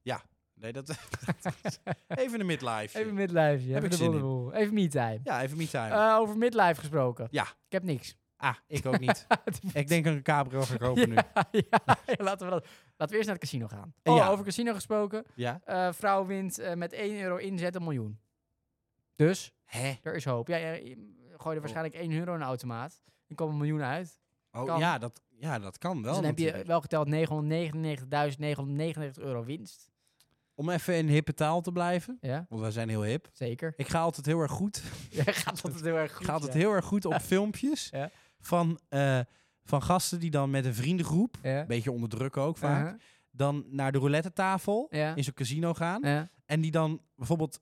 Speaker 1: Nee, dat... even een midlife.
Speaker 2: Even midlife.
Speaker 1: Heb
Speaker 2: Even,
Speaker 1: ik
Speaker 2: de
Speaker 1: zin in.
Speaker 2: boel. even me-time.
Speaker 1: Ja, even me-time.
Speaker 2: Eh, over midlife gesproken.
Speaker 1: Ja.
Speaker 2: Ik heb niks.
Speaker 1: ah, ik ook niet. ik denk dat ik een cabrio ga kopen nu.
Speaker 2: ja, ja, laten we dat. Laten we eerst naar het casino gaan. Oh,
Speaker 1: Ja.
Speaker 2: over casino gesproken.
Speaker 1: Ja?
Speaker 2: Eh, vrouw wint eh, met 1 euro inzet een miljoen. Dus,
Speaker 1: Hè?
Speaker 2: er is hoop. Ja, ja, je gooi er waarschijnlijk 1 euro in de automaat. Dan komt een miljoen uit.
Speaker 1: Oh,
Speaker 2: Kan.
Speaker 1: ja, dat, ja, dat kan wel
Speaker 2: dus dan heb je
Speaker 1: natuurlijk.
Speaker 2: wel geteld 999.999 euro winst.
Speaker 1: Om even in hippe taal te blijven.
Speaker 2: Ja,
Speaker 1: Want wij zijn heel hip.
Speaker 2: zeker.
Speaker 1: Ik ga altijd heel erg goed.
Speaker 2: Ja, gaat altijd heel erg goed.
Speaker 1: Ik ga altijd
Speaker 2: ja.
Speaker 1: heel erg goed op filmpjes.
Speaker 2: Ja.
Speaker 1: Van, eh, van gasten die dan met een vriendengroep...
Speaker 2: Ja.
Speaker 1: Een beetje onder druk ook vaak.
Speaker 2: Uh-huh.
Speaker 1: Dan naar de roulette tafel
Speaker 2: Ja.
Speaker 1: in zo'n casino gaan.
Speaker 2: Ja.
Speaker 1: En die dan bijvoorbeeld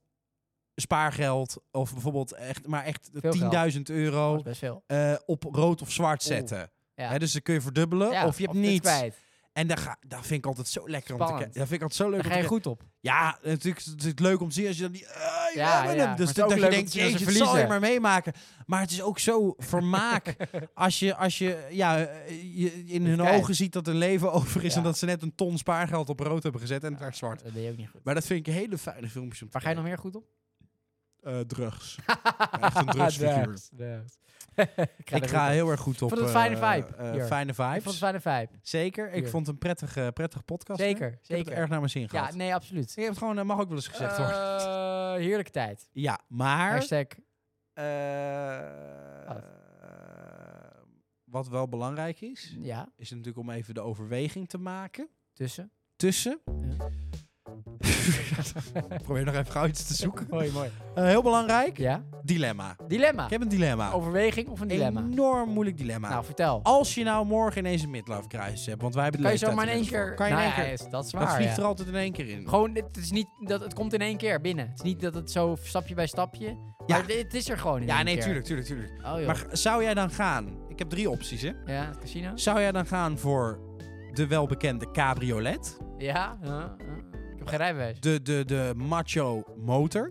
Speaker 1: spaargeld of bijvoorbeeld echt, maar echt
Speaker 2: Veel
Speaker 1: 10.000
Speaker 2: Dat
Speaker 1: euro
Speaker 2: is best veel.
Speaker 1: eh, op rood of zwart zetten.
Speaker 2: Ja.
Speaker 1: Hè, dus dan kun je verdubbelen
Speaker 2: Ja,
Speaker 1: of je hebt
Speaker 2: dit
Speaker 1: niets.
Speaker 2: kwijt.
Speaker 1: En daar, ga, daar vind ik altijd zo lekker om te
Speaker 2: Spannend.
Speaker 1: kijken. Dat vind ik altijd zo leuk
Speaker 2: Daar
Speaker 1: om
Speaker 2: ga
Speaker 1: te
Speaker 2: je
Speaker 1: kijken.
Speaker 2: goed op.
Speaker 1: Ja, natuurlijk is het leuk om te zien als je dan die... eh, hey, we
Speaker 2: Ja,
Speaker 1: hebben
Speaker 2: ja.
Speaker 1: hem. Dus
Speaker 2: Maar het is
Speaker 1: dat,
Speaker 2: ook
Speaker 1: dat je
Speaker 2: leuk
Speaker 1: denkt,
Speaker 2: om te zien
Speaker 1: jeetje,
Speaker 2: als ze
Speaker 1: dat zal je
Speaker 2: verliezen.
Speaker 1: maar meemaken. Maar het is ook zo vermaak als je, als je, ja, eh, je in hun
Speaker 2: kijkt.
Speaker 1: ogen ziet dat hun leven over is...
Speaker 2: Ja.
Speaker 1: en dat ze net een ton spaargeld op rood hebben gezet en het werd zwart.
Speaker 2: Dat deed je ook niet goed.
Speaker 1: Maar dat vind ik hele fijne filmpjes om te
Speaker 2: Waar ga je nog
Speaker 1: kijken.
Speaker 2: meer goed op?
Speaker 1: Eh, drugs. Echt een drugsfiguur.
Speaker 2: Drugs, drugs. ik ga, er
Speaker 1: Ik
Speaker 2: goed
Speaker 1: ga
Speaker 2: op.
Speaker 1: heel erg goed op...
Speaker 2: vond het een fijne
Speaker 1: eh,
Speaker 2: vibe
Speaker 1: eh,
Speaker 2: hier.
Speaker 1: fijne
Speaker 2: Ik
Speaker 1: vibes.
Speaker 2: vond het een fijne vibe.
Speaker 1: Zeker. Ik
Speaker 2: Hier.
Speaker 1: vond het een prettige, prettige podcast.
Speaker 2: Zeker,
Speaker 1: hè? Ik heb het
Speaker 2: zeker.
Speaker 1: erg naar mijn zin
Speaker 2: Ja,
Speaker 1: gehad.
Speaker 2: nee, absoluut.
Speaker 1: Ik heb het gewoon, eh, mag ook wel eens gezegd worden.
Speaker 2: Eh, heerlijke tijd.
Speaker 1: Ja, maar...
Speaker 2: Hashtag.
Speaker 1: Eh,
Speaker 2: Wat?
Speaker 1: wat wel belangrijk is,
Speaker 2: Ja,
Speaker 1: is natuurlijk om even de overweging te maken
Speaker 2: tussen.
Speaker 1: tussen. Ik Probeer nog even gauw iets te zoeken.
Speaker 2: mooi, mooi.
Speaker 1: Eh, heel belangrijk,
Speaker 2: Ja.
Speaker 1: dilemma.
Speaker 2: Dilemma.
Speaker 1: Ik heb een dilemma.
Speaker 2: Overweging of Ah. een dilemma?
Speaker 1: Enorm moeilijk dilemma.
Speaker 2: Nou, vertel.
Speaker 1: Als je nou morgen ineens een midlife crisis hebt, want wij hebben de
Speaker 2: Kan je
Speaker 1: leeftijd
Speaker 2: zomaar in één
Speaker 1: inmiddels
Speaker 2: keer...
Speaker 1: voor. Kan je in
Speaker 2: Nou
Speaker 1: één
Speaker 2: ja,
Speaker 1: keer.
Speaker 2: is- dat is waar,
Speaker 1: Dat vliegt
Speaker 2: ja.
Speaker 1: er altijd in één keer in.
Speaker 2: Gewoon, het, is niet dat, het komt in één keer binnen. Het is niet dat het zo stapje bij stapje...
Speaker 1: Ja.
Speaker 2: Maar het is er gewoon in
Speaker 1: ja,
Speaker 2: één
Speaker 1: nee,
Speaker 2: keer.
Speaker 1: tuurlijk, tuurlijk, tuurlijk.
Speaker 2: Oh, joh.
Speaker 1: Maar g- zou jij dan gaan? Ik heb drie opties, hè?
Speaker 2: ja, het casino?
Speaker 1: Zou jij dan gaan voor de welbekende cabriolet?
Speaker 2: Ja. ja, ja. Ik heb geen rijbewijs.
Speaker 1: de, de, de macho motor.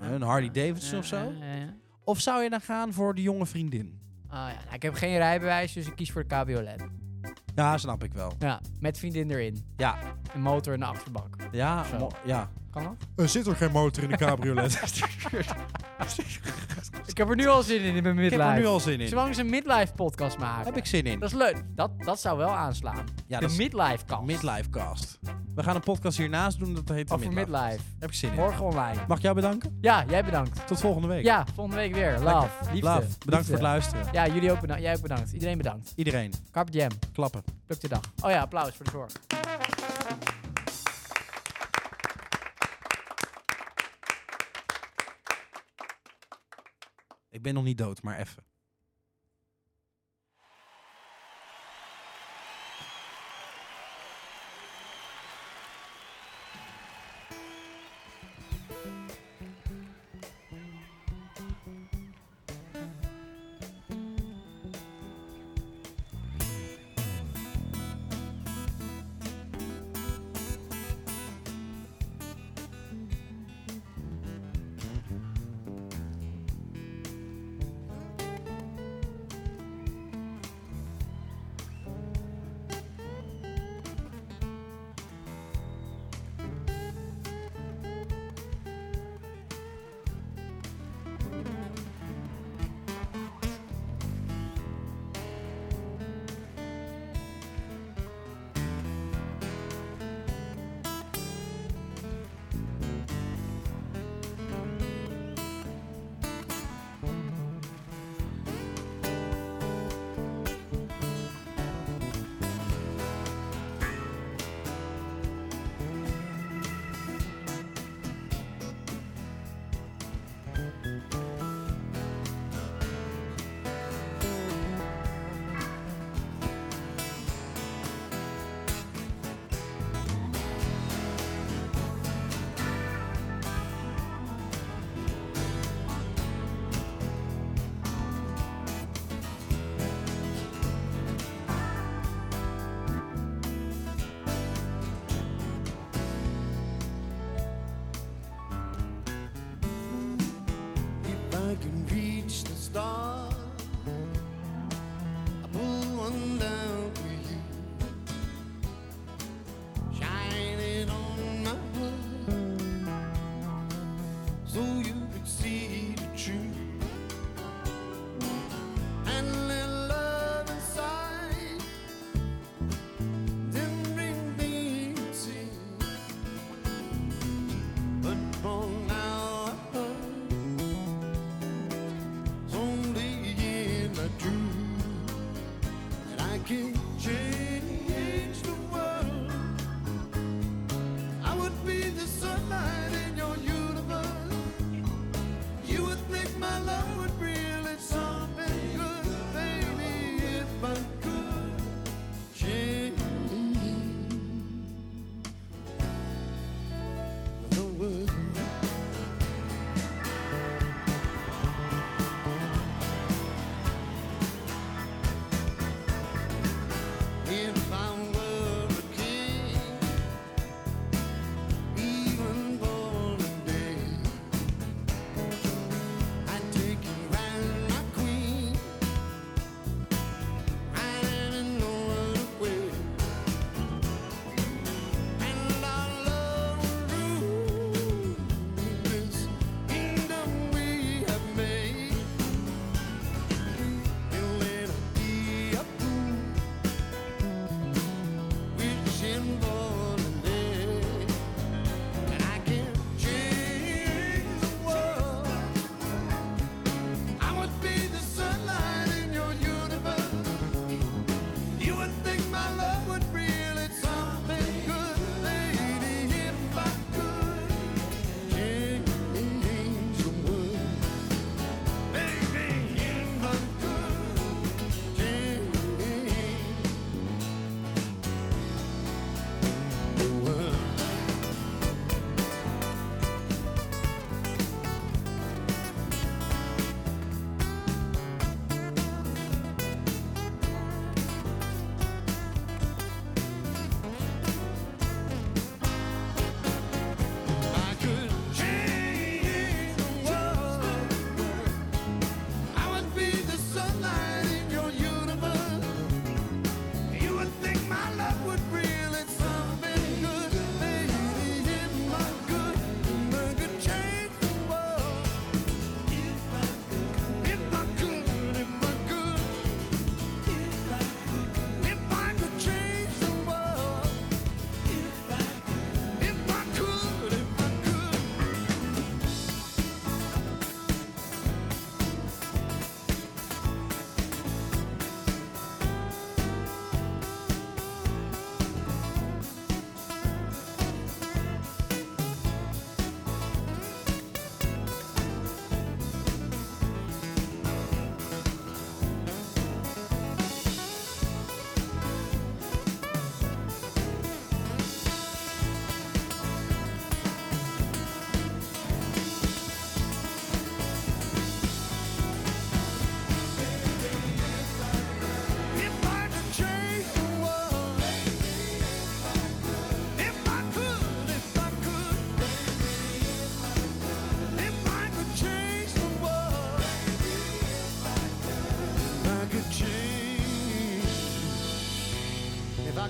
Speaker 1: Een Harley Davidson
Speaker 2: Ja,
Speaker 1: of zo.
Speaker 2: ja, ja, ja.
Speaker 1: Of zou je dan gaan voor de jonge vriendin?
Speaker 2: Ah, ja. Nou, ik heb geen rijbewijs, dus ik kies voor de cabriolet.
Speaker 1: Ja, snap ik wel.
Speaker 2: Ja, met vriendin erin.
Speaker 1: Ja,
Speaker 2: Een motor in de achterbak.
Speaker 1: ja,
Speaker 2: Zo.
Speaker 1: mo- ja.
Speaker 2: Kan dat?
Speaker 1: Er zit er geen motor in de cabriolet.
Speaker 2: Ik heb er nu al zin in, in mijn
Speaker 1: ik
Speaker 2: midlife.
Speaker 1: heb er nu al zin in.
Speaker 2: Zolang ze een midlife podcast maken.
Speaker 1: Heb ik zin in.
Speaker 2: Dat is leuk. Dat, dat zou wel aanslaan.
Speaker 1: Ja,
Speaker 2: de
Speaker 1: dat is-
Speaker 2: midlife kast.
Speaker 1: Midlife cast. We gaan een podcast hiernaast doen, dat heet de
Speaker 2: Over
Speaker 1: midlife.
Speaker 2: midlife.
Speaker 1: Heb ik zin in.
Speaker 2: Morgen online.
Speaker 1: Mag ik jou bedanken?
Speaker 2: Ja, jij bedankt.
Speaker 1: Tot volgende week.
Speaker 2: Ja, volgende week weer. Love. Liefde.
Speaker 1: Love. Bedankt
Speaker 2: Liefde.
Speaker 1: voor het luisteren.
Speaker 2: Ja, jullie ook bedankt. Jij ook bedankt. Iedereen bedankt.
Speaker 1: Iedereen,
Speaker 2: Carpe diem.
Speaker 1: klappen.
Speaker 2: Pluk de dag. Oh ja, applaus voor de zorg.
Speaker 1: Ik ben nog niet dood, maar even.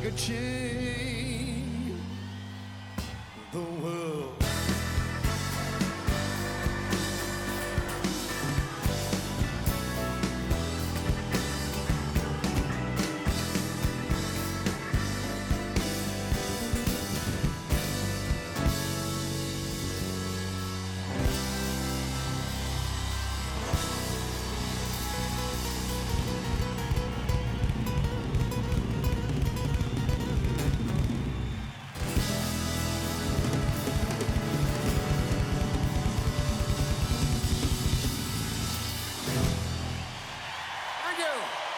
Speaker 5: could change the world.
Speaker 2: Thank you.